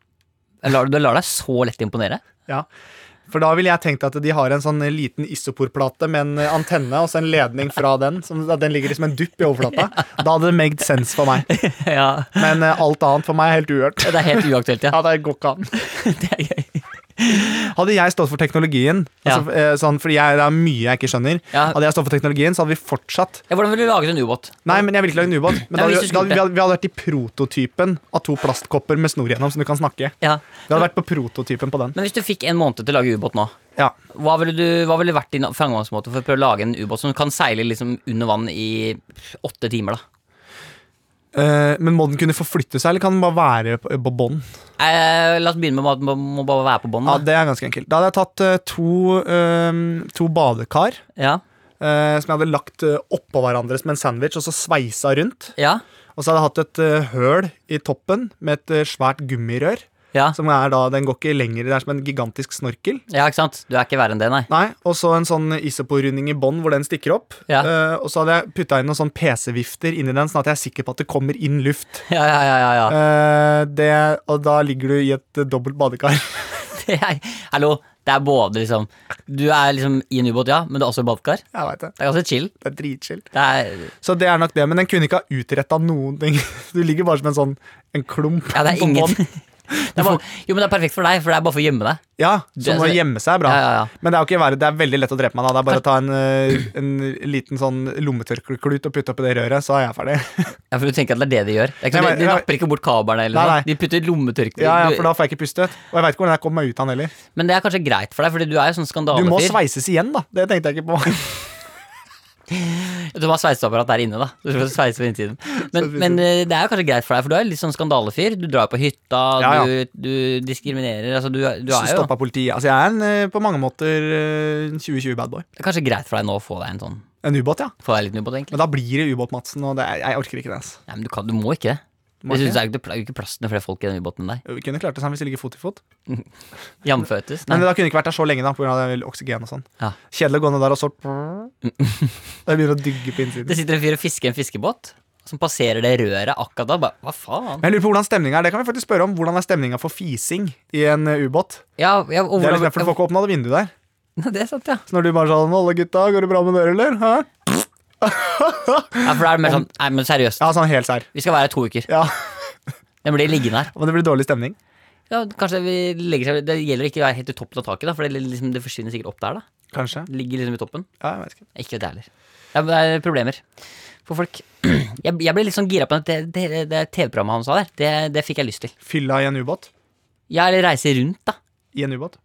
[SPEAKER 2] Lar, du lar deg så lett imponere.
[SPEAKER 3] Ja. For da ville jeg tenkt at de har en sånn liten isoporplate med en antenne og så en ledning fra den. Som, at den ligger som en dupp i overflata. Da hadde det made sense for meg.
[SPEAKER 2] ja,
[SPEAKER 3] Men eh, alt annet for meg er helt uhørt.
[SPEAKER 2] Det er helt uaktuelt, ja.
[SPEAKER 3] Ja, det går ikke an.
[SPEAKER 2] det er gøy.
[SPEAKER 3] Hadde jeg stått for teknologien,
[SPEAKER 2] Ja.
[SPEAKER 3] altså, eh, sånn, fordi jeg, det er mye jeg ikke skjønner
[SPEAKER 2] Ja.
[SPEAKER 3] Hadde jeg stått for teknologien, så hadde vi fortsatt
[SPEAKER 2] Ja, hvordan ville du laget en ubåt?
[SPEAKER 3] Nei, men jeg vil ikke lage en ubåt. Men
[SPEAKER 2] Nei,
[SPEAKER 3] da,
[SPEAKER 2] hvis
[SPEAKER 3] hadde
[SPEAKER 2] du
[SPEAKER 3] vi-
[SPEAKER 2] skulle
[SPEAKER 3] da hadde, vi,
[SPEAKER 2] det.
[SPEAKER 3] hadde- vi hadde vært i prototypen av to plastkopper med snor gjennom som du kan snakke i.
[SPEAKER 2] Ja.
[SPEAKER 3] Vi hadde vært på prototypen på den.
[SPEAKER 2] Men hvis du fikk en måned til å lage ubåt nå,
[SPEAKER 3] Ja.
[SPEAKER 2] hva ville, du, hva ville vært din fremgangsmåte for å prøve å lage en ubåt som kan seile liksom under vann i åtte timer, da?
[SPEAKER 3] Eh, men må den kunne forflytte seg, eller kan den bare være på, på bånn?
[SPEAKER 2] Eh, la oss begynne med at den må- må bare være på bånn.
[SPEAKER 3] Ja,
[SPEAKER 2] da.
[SPEAKER 3] det er ganske enkelt. Da hadde jeg tatt eh, to, eh, to badekar
[SPEAKER 2] Ja.
[SPEAKER 3] eh, som jeg hadde lagt eh, oppå hverandre som en sandwich, og så sveisa rundt.
[SPEAKER 2] Ja.
[SPEAKER 3] Og så hadde jeg hatt et eh, høl i toppen med et eh, svært gummirør.
[SPEAKER 2] Ja.
[SPEAKER 3] Som er da, Den går ikke lenger, det er som en gigantisk snorkel.
[SPEAKER 2] ja, ikke sant? Du er ikke verre enn det, nei.
[SPEAKER 3] Nei, Og så en sånn isoporunding i bånn hvor den stikker opp.
[SPEAKER 2] Ja.
[SPEAKER 3] Eh, og så hadde jeg putta inn noen sånn PC-vifter inni den, sånn at jeg er sikker på at det kommer inn luft.
[SPEAKER 2] Ja, ja, ja, ja, ja.
[SPEAKER 3] Eh, det, og da ligger du i et eh, dobbelt badekar.
[SPEAKER 2] Det er, hallo, det er både liksom Du er liksom i en ubåt, ja, men du er også i badekar. Det
[SPEAKER 3] Jeg vet det.
[SPEAKER 2] er ganske chill.
[SPEAKER 3] Det er dritchill.
[SPEAKER 2] Det er,
[SPEAKER 3] Så det er nok det, men den kunne ikke ha utretta noen ting. Du ligger bare som en sånn en klump.
[SPEAKER 2] ja, det er
[SPEAKER 3] på
[SPEAKER 2] ingen
[SPEAKER 3] bånn.
[SPEAKER 2] det er bare, Jo, men det er perfekt for deg, for det er bare for å gjemme deg.
[SPEAKER 3] Ja,
[SPEAKER 2] Det-
[SPEAKER 3] Som å gjemme seg er bra.
[SPEAKER 2] Ja, ja, ja.
[SPEAKER 3] Men det er jo ikke verre, det er veldig lett å drepe meg da. Det er bare å ta en, eh, en liten sånn lommetørklut og putte oppi det røret, så er jeg ferdig.
[SPEAKER 2] Ja, For du tenker at det er det de gjør? Det er ikke sånn,
[SPEAKER 3] Nei,
[SPEAKER 2] de, de
[SPEAKER 3] men-
[SPEAKER 2] napper ikke bort kablene, eller
[SPEAKER 3] Nei,
[SPEAKER 2] noe.
[SPEAKER 3] nei.
[SPEAKER 2] De putter lommetørkle
[SPEAKER 3] Ja, ja,
[SPEAKER 2] du-
[SPEAKER 3] For da får jeg ikke puste. Og jeg veit ikke hvordan jeg kommer meg ut av den heller.
[SPEAKER 2] Men det er kanskje greit for deg, Fordi du er jo sånn
[SPEAKER 3] Du må
[SPEAKER 2] skandalefyr.
[SPEAKER 3] sveises igjen, da. Det tenkte jeg ikke på.
[SPEAKER 2] Du har sveiseapparat der inne, da. Du får sveise på innsiden. Men,
[SPEAKER 3] Sveise på
[SPEAKER 2] men eh, det er jo kanskje greit for deg, for du er litt sånn skandalefyr. Du drar på hytta,
[SPEAKER 3] Ja, ja.
[SPEAKER 2] Du, du diskriminerer. Altså, du, er- du
[SPEAKER 3] Så
[SPEAKER 2] er jo
[SPEAKER 3] stoppa politiet. Altså, jeg er en, eh, på mange måter eh, en 2020-bad boy.
[SPEAKER 2] Det er kanskje greit for deg nå å få deg en sånn
[SPEAKER 3] En ubåt, ja.
[SPEAKER 2] Få deg en liten ubåt, egentlig.
[SPEAKER 3] Men da blir det ubåt-Madsen, og det, er- jeg orker ikke det. Altså.
[SPEAKER 2] Nei, men du, kan, du må ikke det.
[SPEAKER 3] Må
[SPEAKER 2] Jeg
[SPEAKER 3] ikke
[SPEAKER 2] synes det er jo ikke- det er jo ikke plass til flere folk i den ubåten enn deg.
[SPEAKER 3] Vi kunne klart det sammen hvis det ligger fot i fot.
[SPEAKER 2] Jamføtes.
[SPEAKER 3] Men
[SPEAKER 2] Nei.
[SPEAKER 3] da kunne jeg ikke vært der så lenge, da, pga. oksygen og sånn.
[SPEAKER 2] Ja.
[SPEAKER 3] Kjedelig å gå ned der og så Jeg begynner å dygge på innsiden.
[SPEAKER 2] Det sitter en fyr og fisker en fiskebåt, som passerer det røret akkurat da. Bare, hva faen?
[SPEAKER 3] Men jeg lurer på hvordan stemninga er. Det kan vi faktisk spørre om. Hvordan er stemninga for fising i en eh, ubåt?
[SPEAKER 2] Ja, ja, og
[SPEAKER 3] Det er
[SPEAKER 2] hvordan,
[SPEAKER 3] liksom litt, for Du får ikke åpna det vinduet der.
[SPEAKER 2] Det er sant, ja.
[SPEAKER 3] Så når du bare sånn 'Alle gutta, går det bra med dere, eller?' Hæ?
[SPEAKER 2] ja for da er det mer sånn Nei, men seriøst.
[SPEAKER 3] Ja, sånn helt sær.
[SPEAKER 2] Vi skal være her to uker.
[SPEAKER 3] Ja,
[SPEAKER 2] Den blir liggende her.
[SPEAKER 3] Men det blir dårlig stemning.
[SPEAKER 2] Ja, kanskje vi legger seg Det gjelder å ikke å være helt i toppen av taket, da, for det, liksom, det forsvinner sikkert opp der. da
[SPEAKER 3] Kanskje.
[SPEAKER 2] Det Ligger liksom i toppen.
[SPEAKER 3] Ja, jeg vet ikke.
[SPEAKER 2] Ikke det heller. Ja, men Det er problemer for folk. Jeg, jeg ble litt sånn gira på det, det, det, det TV-programmet han sa der. Det, det fikk jeg lyst til.
[SPEAKER 3] Fylla i en ubåt.
[SPEAKER 2] Ja, eller reise rundt, da.
[SPEAKER 3] I en ubåt.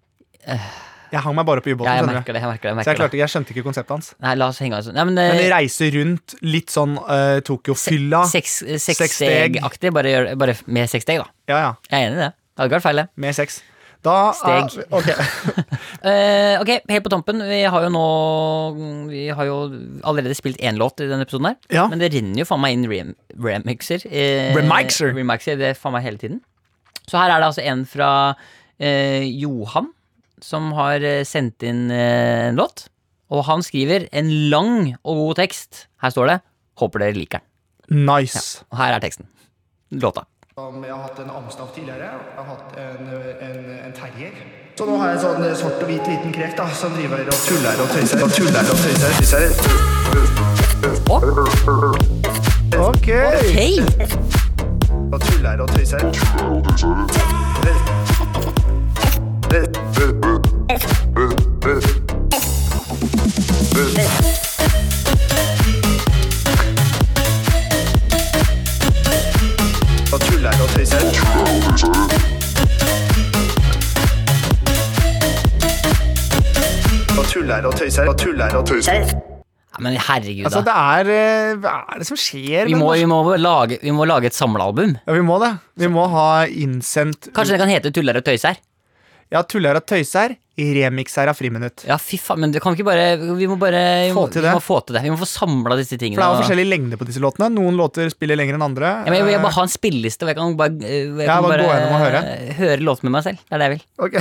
[SPEAKER 3] Jeg hang meg bare på ubåten,
[SPEAKER 2] Eh. Ja, jeg
[SPEAKER 3] skjønner du.
[SPEAKER 2] merker det. jeg merker det, jeg
[SPEAKER 3] Så jeg,
[SPEAKER 2] merker det.
[SPEAKER 3] klarte, jeg skjønte ikke konseptet hans.
[SPEAKER 2] Nei, la oss henge av sånn. Nei, men, eh,
[SPEAKER 3] Men reise rundt, litt sånn eh, Tokyo-fylla.
[SPEAKER 2] seks, eh,
[SPEAKER 3] seks steg.
[SPEAKER 2] Sekssteg-aktig. Bare, gjør- bare med seks steg, da.
[SPEAKER 3] Ja, ja.
[SPEAKER 2] Jeg er enig i det. Det hadde ikke vært feil, det.
[SPEAKER 3] Med sex. Da er-
[SPEAKER 2] Steg.
[SPEAKER 3] ok.
[SPEAKER 2] Eh, ok, helt på tampen. Vi har jo nå Vi har jo allerede spilt én låt i denne episoden her.
[SPEAKER 3] Ja.
[SPEAKER 2] Men det renner jo faen meg inn rem remixer. eh,
[SPEAKER 3] Remixer?
[SPEAKER 2] remixer, Det er faen meg hele tiden. Så her er det altså en fra eh, Johan, som har eh, sendt inn eh, en låt. Og han skriver en lang og god tekst. Her står det 'Håper dere liker den'.
[SPEAKER 3] Nice.
[SPEAKER 2] Og her er teksten. Låta.
[SPEAKER 6] Som Jeg har hatt en Amstaff tidligere. Jeg har hatt en, en, en terrier. Så nå har jeg en sånn svart og hvit liten krek da, som driver og tuller og tøyser og tuller og tøyser. tøyser.
[SPEAKER 3] Ok.
[SPEAKER 2] Hei!
[SPEAKER 6] Og tuller og tøyser. Og tuller og tøyser. Og tuller og tøyser. Og tuller og tøyser.
[SPEAKER 2] Ja, men herregud,
[SPEAKER 3] Altså,
[SPEAKER 2] da.
[SPEAKER 3] det er eh, Hva er det som skjer?
[SPEAKER 2] Vi
[SPEAKER 3] med
[SPEAKER 2] må,
[SPEAKER 3] norsk-
[SPEAKER 2] vi, må lage, vi må lage et samlealbum.
[SPEAKER 3] ja, vi må det. Vi må ha innsendt
[SPEAKER 2] Kanskje det kan hete 'Tuller og tøyser'?
[SPEAKER 3] Ja, tuller og tøyser. Remikser av friminutt.
[SPEAKER 2] Ja, fy faen, men det kan vi ikke bare Vi må bare vi
[SPEAKER 3] Få
[SPEAKER 2] må,
[SPEAKER 3] til
[SPEAKER 2] Vi
[SPEAKER 3] det.
[SPEAKER 2] må få til det. Vi må få samla disse tingene.
[SPEAKER 3] For det er jo
[SPEAKER 2] og-
[SPEAKER 3] forskjellig lengde på disse låtene. Noen låter spiller lenger enn andre.
[SPEAKER 2] ja, men jeg vil bare ha en spilleliste, og jeg kan bare, eh, jeg
[SPEAKER 3] Ja,
[SPEAKER 2] kan
[SPEAKER 3] bare gå gjennom og høre.
[SPEAKER 2] eh, høre låter med meg selv. Det er det jeg vil.
[SPEAKER 3] Eh, Ok.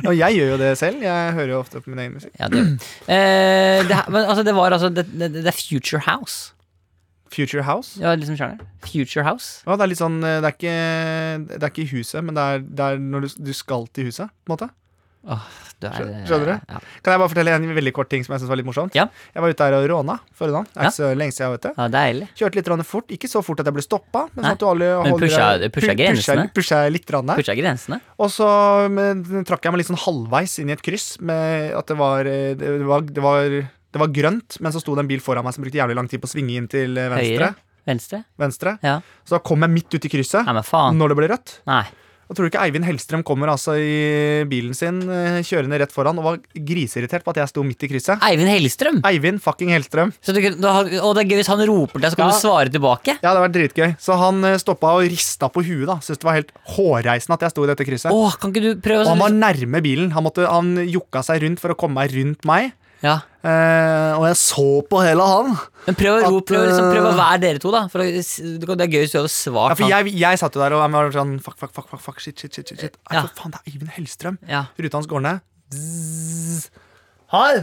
[SPEAKER 3] Ja, jeg gjør jo det selv. Jeg hører jo ofte på min egen musikk.
[SPEAKER 2] Ja, det, eh, det, her- men, altså, det var altså det, det, det er Future House.
[SPEAKER 3] Future House.
[SPEAKER 2] Det var liksom sjangeren. Future House.
[SPEAKER 3] Ja, det er litt sånn eh, Det er ikke, det er ikke i huset, men det er, det er når du, du skal til huset, på en måte.
[SPEAKER 2] Åh, det er, eh,
[SPEAKER 3] Skjø- skjønner du?
[SPEAKER 2] Ja.
[SPEAKER 3] Kan jeg bare fortelle en veldig kort ting som jeg synes var litt morsomt?
[SPEAKER 2] Ja.
[SPEAKER 3] Jeg var ute her og råna forrige dag. Det er
[SPEAKER 2] Ja.
[SPEAKER 3] ikke så lenge siden, vet du.
[SPEAKER 2] ja, deilig.
[SPEAKER 3] Kjørte litt rann fort. Ikke så fort at jeg ble stoppa, men
[SPEAKER 2] Nei.
[SPEAKER 3] sånn at du alle
[SPEAKER 2] Men
[SPEAKER 3] holder
[SPEAKER 2] pusha-
[SPEAKER 3] deg-
[SPEAKER 2] pusha
[SPEAKER 3] pu-
[SPEAKER 2] grensene.
[SPEAKER 3] Pusha, pusha litt rann der.
[SPEAKER 2] Pusha grensene.
[SPEAKER 3] Og så men, trakk jeg meg litt sånn halvveis inn i et kryss med at det var eh, Det var, det var, det var grønt, men så sto det en bil foran meg som brukte jævlig lang tid på å svinge inn til eh, venstre.
[SPEAKER 2] Høyre. Venstre.
[SPEAKER 3] venstre.
[SPEAKER 2] Ja.
[SPEAKER 3] Så da kom jeg midt ut i krysset
[SPEAKER 2] Nei, men faen.
[SPEAKER 3] når det ble rødt.
[SPEAKER 2] Nei.
[SPEAKER 3] Og tror du ikke Eivind Hellstrøm kommer altså i bilen sin eh, kjørende rett foran og var griseirritert på at jeg sto midt i krysset?
[SPEAKER 2] Eivind Hellstrøm!
[SPEAKER 3] Eivind fucking Hellstrøm.
[SPEAKER 2] Så du, kunne- da, og det er gøy hvis han roper til deg, så kan
[SPEAKER 3] Ja.
[SPEAKER 2] du svare tilbake.
[SPEAKER 3] Ja, det var dritgøy. Så han eh, stoppa og rista på huet. da Syntes det var helt hårreisende at jeg sto i dette krysset.
[SPEAKER 2] Åh, kan ikke du prøve å
[SPEAKER 3] Og han var nærme bilen. Han, måtte, han jukka seg rundt for å komme meg rundt meg.
[SPEAKER 2] ja.
[SPEAKER 3] Eh, og jeg så på hele han.
[SPEAKER 2] Men prøv å,
[SPEAKER 3] At,
[SPEAKER 2] ro, prøv, å liksom,
[SPEAKER 3] eh,
[SPEAKER 2] prøv å være dere to, da. For å, s- det kan- det er gøy hvis du hadde svart
[SPEAKER 3] Ja, for
[SPEAKER 2] han.
[SPEAKER 3] jeg, jeg satt jo der og var sånn fuck, fuck, fuck, fuck, fuck shit, shit, shit, shit, shit. Nei,
[SPEAKER 2] Ja.
[SPEAKER 3] for faen, det er Eivind Hellstrøm.
[SPEAKER 2] Ja.
[SPEAKER 3] Ruta hans går ned.
[SPEAKER 6] Hei!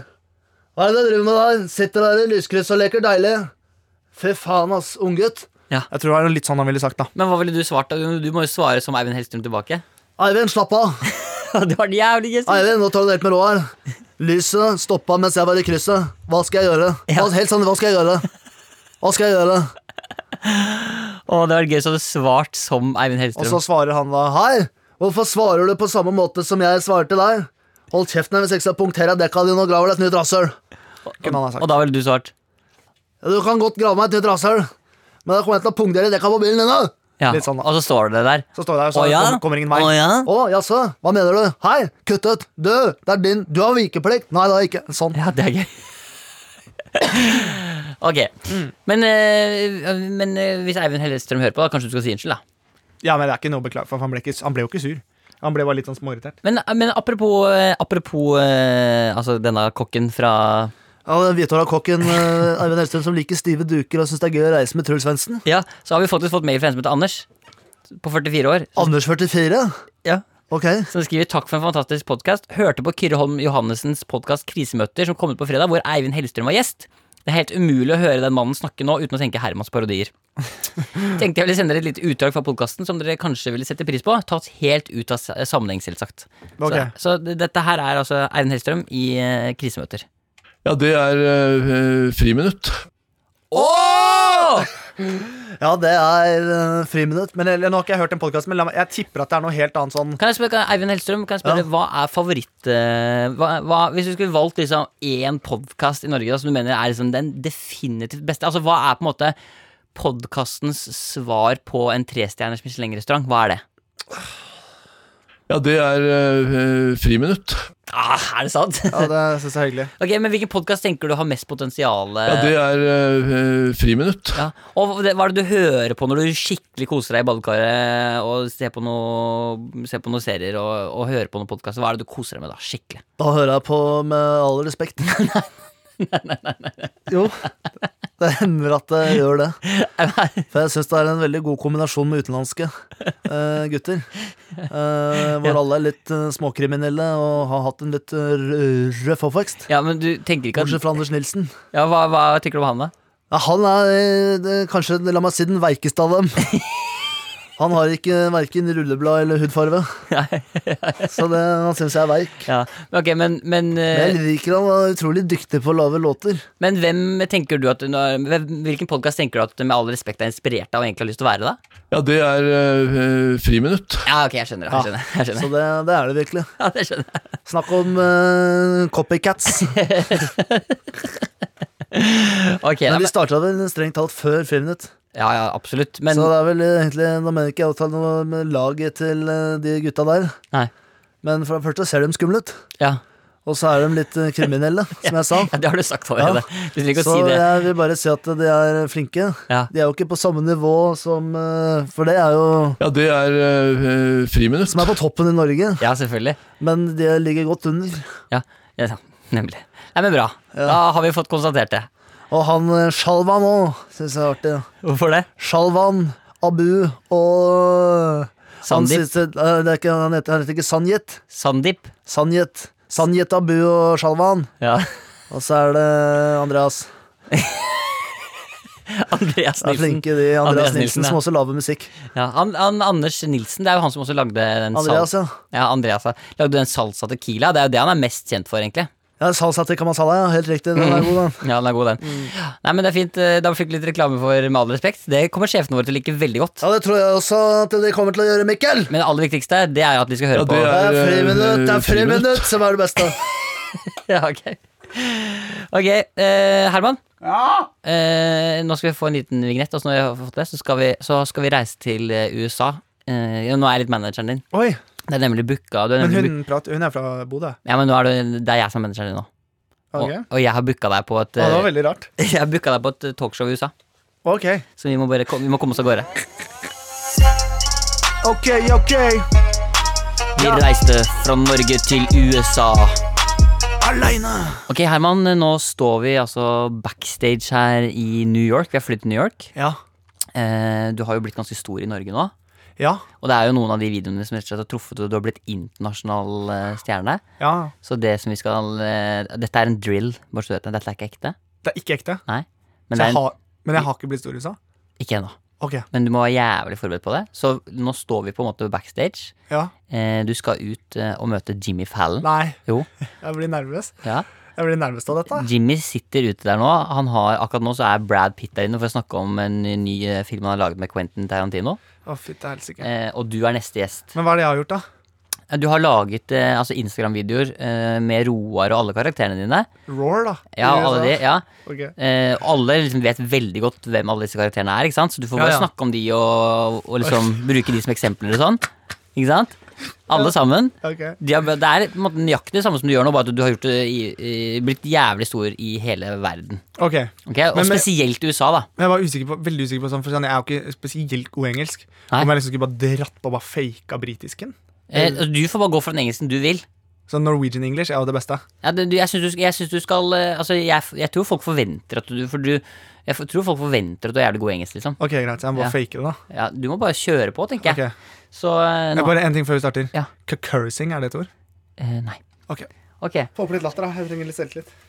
[SPEAKER 6] Hva er det du driver med der? Sitter der i lyskryss og leker deilig? Fy faen, ass, unggutt.
[SPEAKER 3] Jeg tror det var litt sånn han ville sagt, da.
[SPEAKER 2] Men hva ville du svart? da? Du du må jo svare som Eivind Hellstrøm tilbake.
[SPEAKER 6] Eivind, slapp av.
[SPEAKER 2] det var jævlig gøy. Siv.
[SPEAKER 6] Eivind, nå tar du det helt med ro her. Lyset stoppa mens jeg var i krysset. Hva skal jeg gjøre? Hva, helt sånn, hva skal jeg gjøre? Hva skal jeg gjøre?
[SPEAKER 2] Åh, det var gøy så du svart som Eivind
[SPEAKER 6] Og
[SPEAKER 2] Hellstrøm.
[SPEAKER 6] så svarer han da Hei, hvorfor svarer du på samme måte som jeg svarte deg? Hold kjeften hvis ikke så punkterer jeg dekka dine og graver deg et nytt rasshøl.
[SPEAKER 3] Kunne han ha
[SPEAKER 2] og
[SPEAKER 3] sagt.
[SPEAKER 2] da ville du svart.
[SPEAKER 6] Ja, Du kan godt grave meg et nytt rasshøl, men da kommer jeg til å punktere dekka på bilen din. da.
[SPEAKER 2] Ja.
[SPEAKER 3] Litt sånn, da.
[SPEAKER 2] og så står det der.
[SPEAKER 3] Så står jeg der og så
[SPEAKER 2] Å ja?
[SPEAKER 3] kom, kommer ingen vei.
[SPEAKER 2] Å ja?
[SPEAKER 6] Å, jaså, hva mener du? Hei, kutt ut! Du, det er din, du har vikeplikt! Nei, det har jeg ikke. Sånn.
[SPEAKER 2] Ja, det er gøy. ok.
[SPEAKER 3] Mm.
[SPEAKER 2] Men, eh, men eh, hvis Eivind Hellstrøm hører på, da kanskje du skal si unnskyld, da.
[SPEAKER 3] Ja, men det er ikke noe å beklage for, for han ble, ikke, han ble jo ikke sur. Han ble bare litt sånn småirritert.
[SPEAKER 2] Men, øh, men apropos, eh, apropos eh, altså denne kokken fra
[SPEAKER 6] Ja, Den hvithåra kokken eh, Eivind Hellstrøm som liker stive duker og syns det er gøy å reise med Truls Svendsen.
[SPEAKER 2] Ja, så har vi faktisk fått mail fra en som heter Anders. På 44 år.
[SPEAKER 6] Anders 44.
[SPEAKER 2] Ja.
[SPEAKER 6] Ok.
[SPEAKER 2] Som skriver takk for en fantastisk podkast. Hørte på Kyrre Holm Johannessens podkast Krisemøter som kom ut på fredag, hvor Eivind Hellstrøm var gjest. Det er helt umulig å høre den mannen snakke nå uten å tenke Hermans parodier. Tenkte jeg ville sende dere et lite utdrag fra podkasten som dere kanskje ville sette pris på. Tatt helt ut av s- sammenheng, selvsagt.
[SPEAKER 3] Ok.
[SPEAKER 2] Så, så d- dette her er altså Eivind Hellstrøm i eh, krisemøter.
[SPEAKER 7] Ja, det er eh, friminutt.
[SPEAKER 3] Ja, det er eh, friminutt. Men eller, Nå har ikke jeg hørt den podkasten, men la meg, jeg tipper at det er noe helt annet sånn
[SPEAKER 2] Kan jeg spørre, kan, Eivind Hellstrøm, kan jeg spørre,
[SPEAKER 3] Ja.
[SPEAKER 2] hva er favoritt eh, hva, hva, Hvis du skulle valgt liksom én podkast i Norge da, som du mener er liksom den definitivt beste Altså, Hva er på en måte podkastens svar på en trestjerners Michelin-restaurant? Hva er det?
[SPEAKER 7] Ja, det er eh, friminutt.
[SPEAKER 2] Ah, er det sant?
[SPEAKER 3] Ja, det synes jeg er hyggelig.
[SPEAKER 2] ok, men Hvilken podkast tenker du har mest potensial? eh?
[SPEAKER 7] Ja, det er eh, friminutt.
[SPEAKER 2] Ja. Og det, hva er det du hører på når du skikkelig koser deg i badekaret og ser på, noe, ser på noen serier og, og hører på noen podkaster? Hva er det du koser deg med da? Skikkelig.
[SPEAKER 3] Da hører jeg på med all respekt. nei, nei, nei, nei. Jo, det hender at jeg gjør det. For jeg syns det er en veldig god kombinasjon med utenlandske eh, gutter. eh, hvor alle er litt eh, småkriminelle og har hatt en litt eh, rø- røff oppvekst.
[SPEAKER 2] Ja, men du tenker ikke
[SPEAKER 3] Bortsett
[SPEAKER 2] at
[SPEAKER 3] fra Anders Nilsen.
[SPEAKER 2] ja, hva, hva tenker du om han, da?
[SPEAKER 3] Ja, han er eh, det- kanskje, la meg si, den veikeste av dem. Han har ikke verken rulleblad eller hudfarve. Så det, han syns jeg er veik.
[SPEAKER 2] Ja, men ok, men, men, eh,
[SPEAKER 3] Men jeg liker han han er utrolig dyktig på å lage låter.
[SPEAKER 2] men hvem tenker du at hun har- hvem- Hvilken podkast tenker du at du med all respekt er inspirert av og egentlig har lyst til å være, da?
[SPEAKER 7] Ja, det er eh, friminutt.
[SPEAKER 2] Ja, ok, jeg skjønner. Jeg skjønner, jeg skjønner.
[SPEAKER 3] Så det, det er det virkelig.
[SPEAKER 2] Ja, det skjønner. jeg.
[SPEAKER 3] Snakk om eh, copycats.
[SPEAKER 2] Ok, ja,
[SPEAKER 3] Men vi
[SPEAKER 2] men,
[SPEAKER 3] starta vel strengt talt før Friminutt.
[SPEAKER 2] ja, ja, absolutt. Men
[SPEAKER 3] Så det er vel eh, egentlig Da mener ikke jeg å ta noe med laget til eh, de gutta der.
[SPEAKER 2] Nei.
[SPEAKER 3] Men for det første ser de skumle ut,
[SPEAKER 2] ja,
[SPEAKER 3] og så er de litt eh, kriminelle, som jeg sa.
[SPEAKER 2] ja, det har du sagt allerede. Du trenger ikke å
[SPEAKER 3] Så
[SPEAKER 2] si det.
[SPEAKER 3] jeg vil bare si at de er flinke.
[SPEAKER 2] Ja.
[SPEAKER 3] De er jo ikke på samme nivå som eh, For det er jo
[SPEAKER 7] Ja, det er eh, friminutt.
[SPEAKER 3] Som er på toppen i Norge,
[SPEAKER 2] Ja, selvfølgelig.
[SPEAKER 3] men de ligger godt under.
[SPEAKER 2] Ja, ja ja, nemlig. Nei, men bra. Da har vi fått konstatert det.
[SPEAKER 3] Og han eh, Shalvan òg, syns jeg er artig.
[SPEAKER 2] Hvorfor det?
[SPEAKER 3] Shalvan, Abu og eh, han
[SPEAKER 2] Sandeep.
[SPEAKER 3] synes det- eh, det er ikke, han, heter, han heter ikke Sanjet.
[SPEAKER 2] Sandeep.
[SPEAKER 3] Sanjet. Sanjet Abu og Shalvan.
[SPEAKER 2] Ja.
[SPEAKER 3] Og så er det Andreas.
[SPEAKER 2] Andreas
[SPEAKER 3] Det er
[SPEAKER 2] Nilsen.
[SPEAKER 3] flinke de.
[SPEAKER 2] Andreas
[SPEAKER 3] Andreas, Nilsen,
[SPEAKER 2] Nilsen, ja.
[SPEAKER 3] som også lager musikk.
[SPEAKER 2] Ja, han, han, Anders Nilsen, det er jo han som også lagde den
[SPEAKER 3] Andreas, ja.
[SPEAKER 2] Ja, Andreas ja. lagde den salsa tequila. Det er jo det han er mest kjent for, egentlig.
[SPEAKER 3] Ja, Salsa til Kamasala, ja. Helt riktig. Den er god, den.
[SPEAKER 2] Ja, den er god, den. Nei, men det er fint. eh, Da fikk vi litt reklame for Med all respekt. Det kommer sjefene våre til å like veldig godt.
[SPEAKER 3] Ja, det tror jeg også at de kommer til å gjøre, Mikkel.
[SPEAKER 2] Men det aller viktigste det er at vi skal høre
[SPEAKER 7] Ja,
[SPEAKER 2] på.
[SPEAKER 7] det
[SPEAKER 3] Det er
[SPEAKER 7] er eh,
[SPEAKER 3] friminutt, det er
[SPEAKER 7] friminutt.
[SPEAKER 3] friminutt som er det beste.
[SPEAKER 2] Ja, ok. Ok, eh, Herman. Eh, nå skal vi få en liten vignett, og så når vi har fått det, så skal vi, så skal vi reise til eh, USA. Eh, ja, nå er jeg litt manageren din.
[SPEAKER 3] Oi,
[SPEAKER 2] Det er nemlig booka. Du er
[SPEAKER 3] men
[SPEAKER 2] nemlig
[SPEAKER 3] hun, prater, hun er fra Bodø.
[SPEAKER 2] book- ja, men nå er det, det er jeg som er manageren din nå. Og,
[SPEAKER 3] Ok.
[SPEAKER 2] og jeg har booka deg på et
[SPEAKER 3] Ja, det var
[SPEAKER 2] eh,
[SPEAKER 3] veldig rart.
[SPEAKER 2] Jeg har booka deg på et talkshow i USA.
[SPEAKER 3] Ok.
[SPEAKER 2] Så vi må, bare, kom- vi må komme oss av gårde.
[SPEAKER 3] Ok, ok.
[SPEAKER 2] Vi reiste fra Norge til USA.
[SPEAKER 3] Aleine.
[SPEAKER 2] Ok, Herman, eh, nå står vi altså backstage her i New York. Vi har flyttet til New York.
[SPEAKER 3] Ja.
[SPEAKER 2] Eh, du har jo blitt ganske stor i Norge nå.
[SPEAKER 3] Ja.
[SPEAKER 2] Og det er jo noen av de videoene som rett og slett har truffet, og du har blitt internasjonal eh, stjerne.
[SPEAKER 3] Ja.
[SPEAKER 2] Så det som vi skal eh, Dette er en drill, bare så du vet det. Dette er ikke ekte.
[SPEAKER 3] Det er ikke ekte.
[SPEAKER 2] Nei. Men
[SPEAKER 3] Men,
[SPEAKER 2] det
[SPEAKER 3] jeg
[SPEAKER 2] er en,
[SPEAKER 3] har, men jeg har ikke blitt stor i USA?
[SPEAKER 2] ikke ennå.
[SPEAKER 3] Ok.
[SPEAKER 2] Men du må være jævlig forberedt på det. Så nå står vi på en måte backstage.
[SPEAKER 3] Ja.
[SPEAKER 2] Eh, du skal ut eh, og møte Jimmy Fallon.
[SPEAKER 3] Nei,
[SPEAKER 2] Jo,
[SPEAKER 3] jeg blir nervøs.
[SPEAKER 2] ja.
[SPEAKER 3] Jeg blir nervøs av dette.
[SPEAKER 2] Jimmy sitter ute der nå. Han har, akkurat nå så er Brad Pitt der inne for å snakke om en ny eh, film han har laget med Quentin Tarantino.
[SPEAKER 3] Å, fytti helsike.
[SPEAKER 2] Eh, og du er neste gjest.
[SPEAKER 3] Men hva er det jeg har gjort, da?
[SPEAKER 2] Eh, Du har laget eh, altså Instagram-videoer eh, med Roar og alle karakterene dine.
[SPEAKER 3] Roar, da?
[SPEAKER 2] Ja,
[SPEAKER 3] I
[SPEAKER 2] alle de,
[SPEAKER 3] USA?
[SPEAKER 2] ja.
[SPEAKER 3] Ok.
[SPEAKER 2] Eh, alle liksom vet veldig godt hvem alle disse karakterene er, ikke sant? så du får
[SPEAKER 3] Ja,
[SPEAKER 2] bare
[SPEAKER 3] ja.
[SPEAKER 2] snakke om de og, og liksom bruke de som eksempler og sånn. Ikke sant? Alle sammen.
[SPEAKER 3] Ok.
[SPEAKER 2] De har, det er på en måte nøyaktig det samme som du gjør nå, bare at du har gjort det i, i, blitt jævlig stor i hele verden.
[SPEAKER 3] Ok.
[SPEAKER 2] Ok? Og
[SPEAKER 3] Men- men-
[SPEAKER 2] spesielt USA, da.
[SPEAKER 3] Men jeg var usikker på, veldig usikker på sånn, for sånn, jeg er jo ikke spesielt god i engelsk.
[SPEAKER 2] Nei.
[SPEAKER 3] Om jeg liksom skulle bare dratt på og bare faka britisken?
[SPEAKER 2] Eh,
[SPEAKER 3] Mm.
[SPEAKER 2] altså, du får bare gå for den engelsken du vil.
[SPEAKER 3] Sånn Norwegian English er jo det beste.
[SPEAKER 2] Ja, det, du, jeg syns du, sk- jeg synes du skal eh, Altså, jeg, f- jeg tror folk forventer at du For du Jeg f- tror folk forventer at du er jævlig god i engelsk, liksom.
[SPEAKER 3] Ok, greit, så jeg må bare
[SPEAKER 2] Ja.
[SPEAKER 3] fake det, da.
[SPEAKER 2] Ja, du må bare kjøre på, tenker
[SPEAKER 3] Ok.
[SPEAKER 2] jeg. Så eh,
[SPEAKER 3] Jeg
[SPEAKER 2] nå,
[SPEAKER 3] bare En ting før vi starter.
[SPEAKER 2] Ja.
[SPEAKER 3] Cursing, er det et ord?
[SPEAKER 2] eh, Nei.
[SPEAKER 3] Ok.
[SPEAKER 2] Ok.
[SPEAKER 3] Få opp litt latter, da. Jeg trenger litt selvtillit.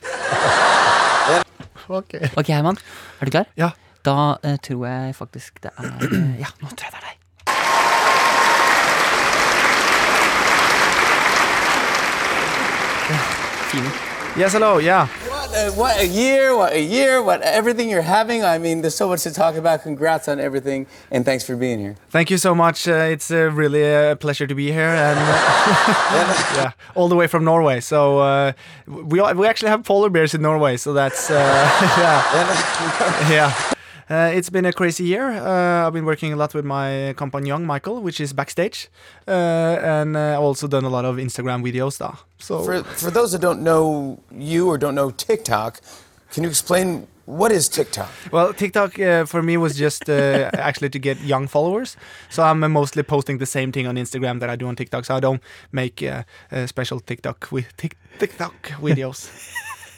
[SPEAKER 3] Ok.
[SPEAKER 2] Ok, Herman, er du klar?
[SPEAKER 3] Ja.
[SPEAKER 2] Da eh, tror jeg faktisk det er eh, Ja, nå tror jeg det er deg.
[SPEAKER 3] Yes, hello, yeah.
[SPEAKER 8] What a, what a year, what a year, what everything you're having. I mean, there's so much to talk about. Congrats on everything, and thanks for being here.
[SPEAKER 3] Thank you so much. Uh, it's uh, really a pleasure to be here, and uh, yeah, all the way from Norway. So uh, we are- we actually have polar bears in Norway. So that's uh, yeah, yeah. Uh, it's been a crazy year. Uh, I've been working a lot with my compagnon Michael, which is backstage, uh, and uh, also done a lot of Instagram videos. Da. So
[SPEAKER 8] Oh. For, for those that don't know you or don't know TikTok, can you explain what is TikTok?
[SPEAKER 3] Well, TikTok uh, for me was just uh, actually to get young followers. So I'm uh, mostly posting the same thing on Instagram that I do on TikTok. So I don't make uh, uh, special TikTok with tic- TikTok videos.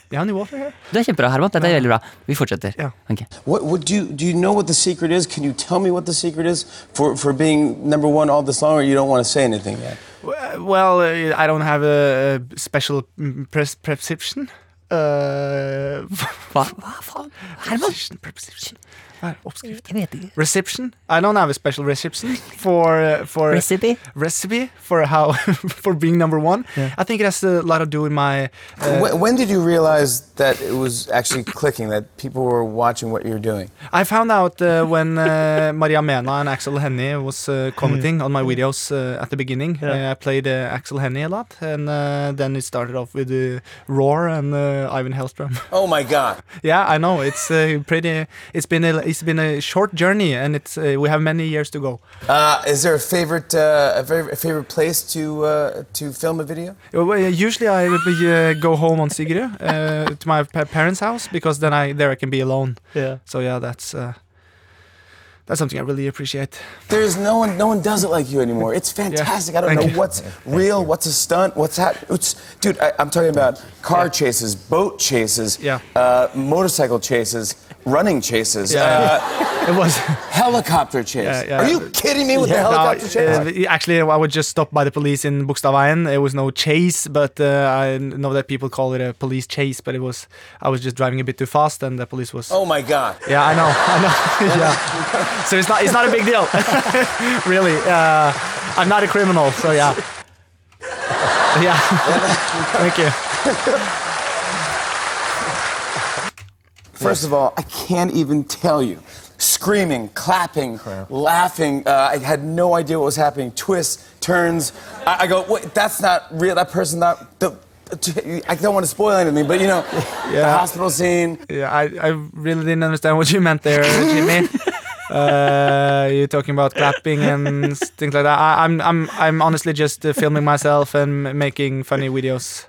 [SPEAKER 3] Do you have any water here?
[SPEAKER 2] Du er kjempebra, Herman. Dette er veldig bra. Vi fortsetter.
[SPEAKER 3] Ja.
[SPEAKER 2] Ok.
[SPEAKER 8] What, what do you do? You know what the secret is? Can you tell me what the secret is for, for being number one all this long, or you don't want to say anything yet?
[SPEAKER 3] W- Well, uh, I don't have a a special mm, pres- prescription. Uh,
[SPEAKER 2] Hva, hva faen? Herman?
[SPEAKER 3] prescription. Hva er oppskrift?
[SPEAKER 2] Jeg vet ikke.
[SPEAKER 3] Reception. I don't have a special reception for uh, for
[SPEAKER 2] Recipe?
[SPEAKER 3] recipe for how for being number one. I think it has a lot to do with my uh,
[SPEAKER 8] when, when did you realize that it was actually clicking? That people were watching what you're doing?
[SPEAKER 3] I found out uh, when uh, Maria Mena and Axel Hennie was uh, commenting on my videos uh, at the beginning. Uh, I played uh, Axel Hennie a lot, and uh, then it started off with uh, Roar and uh, Ivan Hellstrom.
[SPEAKER 8] Oh my God!
[SPEAKER 3] yeah, I know it's uh, pretty. It's been a it's been a short journey, and it's uh, we have many years to go.
[SPEAKER 8] Uh, is there a favorite uh, a favorite, a favorite place to uh, to film a video?
[SPEAKER 3] Uh, well, Usually I would be, uh, go home on Sigrid uh, to my pa- parents' house because then I there I can be alone.
[SPEAKER 2] Yeah.
[SPEAKER 3] So yeah, that's uh, that's something I really appreciate.
[SPEAKER 8] There's no one no one does it like you anymore. It's fantastic. I don't
[SPEAKER 3] Thank
[SPEAKER 8] know
[SPEAKER 3] you.
[SPEAKER 8] what's real, what's a stunt, what's that. It's, dude, I, I'm talking about car chases, boat chases,
[SPEAKER 3] Yeah.
[SPEAKER 8] uh, motorcycle chases, running chases, uh,
[SPEAKER 3] It was.
[SPEAKER 8] helicopter chase.
[SPEAKER 3] Yeah, yeah.
[SPEAKER 8] Are you kidding me with the helicopter chase?
[SPEAKER 3] No, uh, actually, I was just stopped by the police in Bukstavain. It was no chase, but uh, I know that people call it a police chase. But it was I was just driving a bit too fast, and the police was.
[SPEAKER 8] oh my God.
[SPEAKER 3] Yeah, I know, I know. yeah, so it's not it's not a big deal, really. Uh, I'm not a criminal, so yeah. yeah, thank you.
[SPEAKER 8] First of all, I can't even tell you. Screaming, clapping, laughing. Uh, I had no idea what was happening. Twists, turns. I, I go, wait, that's not real. That person, not the. I don't want to spoil anything, but you know, the
[SPEAKER 3] Yeah.
[SPEAKER 8] hospital scene.
[SPEAKER 3] Yeah, I, I really didn't understand what you meant there, Jimmy. uh, you're talking about clapping and s- things like that. I, I'm I'm I'm honestly just uh, filming myself and m- making funny videos.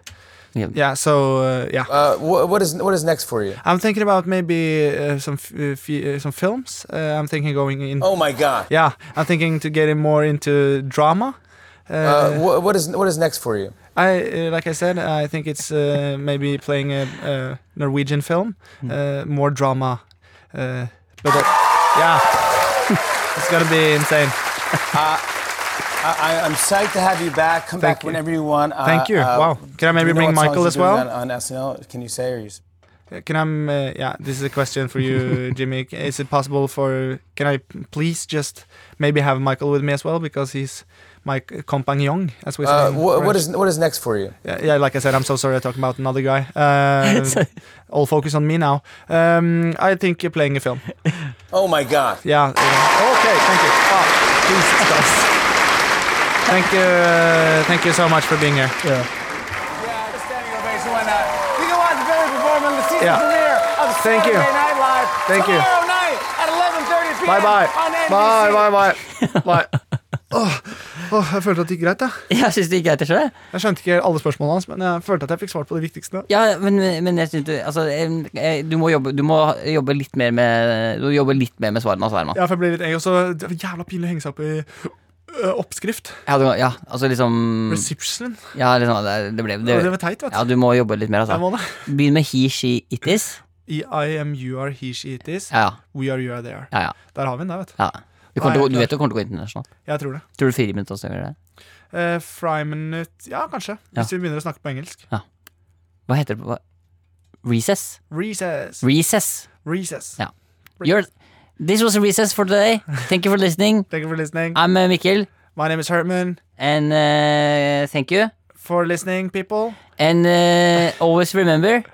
[SPEAKER 2] Ja.
[SPEAKER 3] Yeah, so uh, yeah,
[SPEAKER 8] Uh, wh- what is what is next for you?
[SPEAKER 3] I'm thinking about maybe uh, some f- uh, f- uh, some films. Uh, I'm thinking going in.
[SPEAKER 8] Oh my God!
[SPEAKER 3] Yeah, I'm thinking to getting more into drama.
[SPEAKER 8] Uh, wh- what is what is next for you?
[SPEAKER 3] I uh, like I said, I think it's uh, maybe playing a, a Norwegian film, uh, more drama, uh, but uh, yeah, it's gonna be insane.
[SPEAKER 8] I, I, I'm psyched to have you back. Come
[SPEAKER 3] Thank
[SPEAKER 8] back
[SPEAKER 3] you.
[SPEAKER 8] whenever you want. Uh,
[SPEAKER 3] Thank you. Wow. Can I
[SPEAKER 8] do
[SPEAKER 3] maybe
[SPEAKER 8] you know
[SPEAKER 3] bring
[SPEAKER 8] what songs
[SPEAKER 3] Michael
[SPEAKER 8] you're
[SPEAKER 3] as
[SPEAKER 8] doing
[SPEAKER 3] well?
[SPEAKER 8] on, on SNL? Can you say or you? s-
[SPEAKER 3] Can I? Uh, yeah, this is a question for you, Jimmy. Is it possible for? Can I please just maybe have Michael with me as well because he's my c- compagnon, as we say.
[SPEAKER 8] Uh,
[SPEAKER 3] in
[SPEAKER 8] wh- what
[SPEAKER 3] French.
[SPEAKER 8] is what is next for you?
[SPEAKER 3] Yeah, yeah, like I said, I'm so sorry I talking about another guy. Uh, all focus on me now. Um, I think you're playing a film.
[SPEAKER 8] Oh my God!
[SPEAKER 3] Yeah. okay, thank you.
[SPEAKER 8] Ah,
[SPEAKER 3] Jesus Christ. Thank you, uh, thank you so much for being here.
[SPEAKER 8] Yeah, just standing ovation, why not? You can watch Billy perform in the season
[SPEAKER 3] Yeah.
[SPEAKER 8] premiere of
[SPEAKER 3] Thank you.
[SPEAKER 8] Saturday Night Live
[SPEAKER 3] Thank you.
[SPEAKER 8] tomorrow night at 11:30 p.m.
[SPEAKER 3] Bye bye.
[SPEAKER 8] on NBC.
[SPEAKER 3] Bye bye bye. bye. Åh, åh, jeg følte at det gikk greit. Jeg.
[SPEAKER 2] Jeg syns det gikk greit, jeg skjønner det.
[SPEAKER 3] jeg skjønte ikke alle spørsmålene hans, men jeg følte at jeg fikk svart på det viktigste.
[SPEAKER 2] Ja, men, men jeg synes du, altså, em, eh, du, må jobbe, du må jobbe litt mer med Du må jobbe litt mer med svarene, altså, Herman.
[SPEAKER 3] Ja, for jeg ble litt engel, så det var jævla pinlig å henge seg opp i øh, oppskrift.
[SPEAKER 2] Ja, du, ja altså liksom,
[SPEAKER 3] Reception.
[SPEAKER 2] ja, liksom det, det ble
[SPEAKER 3] Det,
[SPEAKER 2] det,
[SPEAKER 3] det var teit, vet
[SPEAKER 2] Ja, du må jobbe litt mer,
[SPEAKER 3] Jeg må
[SPEAKER 2] altså.
[SPEAKER 3] det.
[SPEAKER 2] Begynn med he, she, it is.
[SPEAKER 3] I, I am you are he she it is.
[SPEAKER 2] Ja,
[SPEAKER 3] We are you are they are.
[SPEAKER 2] ja, ja,
[SPEAKER 3] Der har vi den, der, vet du.
[SPEAKER 2] ja. Du, kommer til, å-
[SPEAKER 3] Nei,
[SPEAKER 2] du vet du kommer til å gå internasjonalt.
[SPEAKER 3] Jeg tror det.
[SPEAKER 2] Tror du fire minutter også gjør det?
[SPEAKER 3] Uh, Fryminute Ja, kanskje.
[SPEAKER 2] Ja.
[SPEAKER 3] Hvis vi begynner å snakke på engelsk.
[SPEAKER 2] Hva heter det på hva? Recess.
[SPEAKER 3] Recess.
[SPEAKER 2] Recess.
[SPEAKER 3] Recess.
[SPEAKER 2] Ja. You're, this was a recess for today. Thank you for listening.
[SPEAKER 3] Thank you for listening.
[SPEAKER 2] I'm uh, Mikkel,
[SPEAKER 3] My name is Herman.
[SPEAKER 2] and uh, thank you.
[SPEAKER 3] For listening, people.
[SPEAKER 2] And uh, always remember,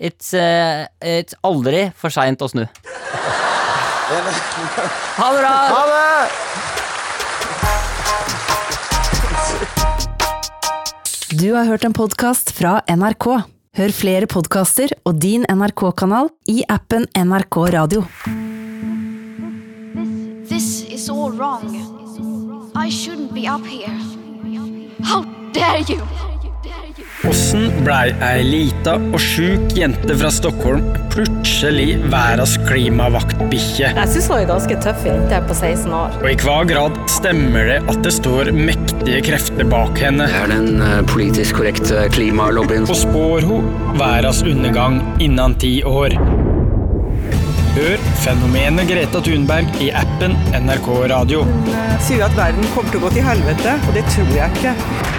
[SPEAKER 2] it's, uh, it's aldri for seint å snu. Ha det bra!
[SPEAKER 3] Ha det!
[SPEAKER 1] Du har hørt en podkast fra NRK. Hør flere podkaster og din NRK-kanal i appen NRK Radio.
[SPEAKER 5] This is all wrong. I shouldn't be up here. How dare you!
[SPEAKER 8] Åssen blei ei lita og sjuk jente fra Stockholm plutselig verdens klimavaktbikkje?
[SPEAKER 9] Jeg syns hun er ganske tøff jente på 16 år.
[SPEAKER 8] Og i hva grad stemmer det at det står mektige krefter bak henne?
[SPEAKER 10] Det er den eh, politisk korrekte klimalobbyen.
[SPEAKER 8] Og spår hun verdens undergang innen ti år? Hør fenomenet Greta Thunberg i appen NRK Radio.
[SPEAKER 11] sier at verden kommer til å gå til helvete, og det tror jeg ikke.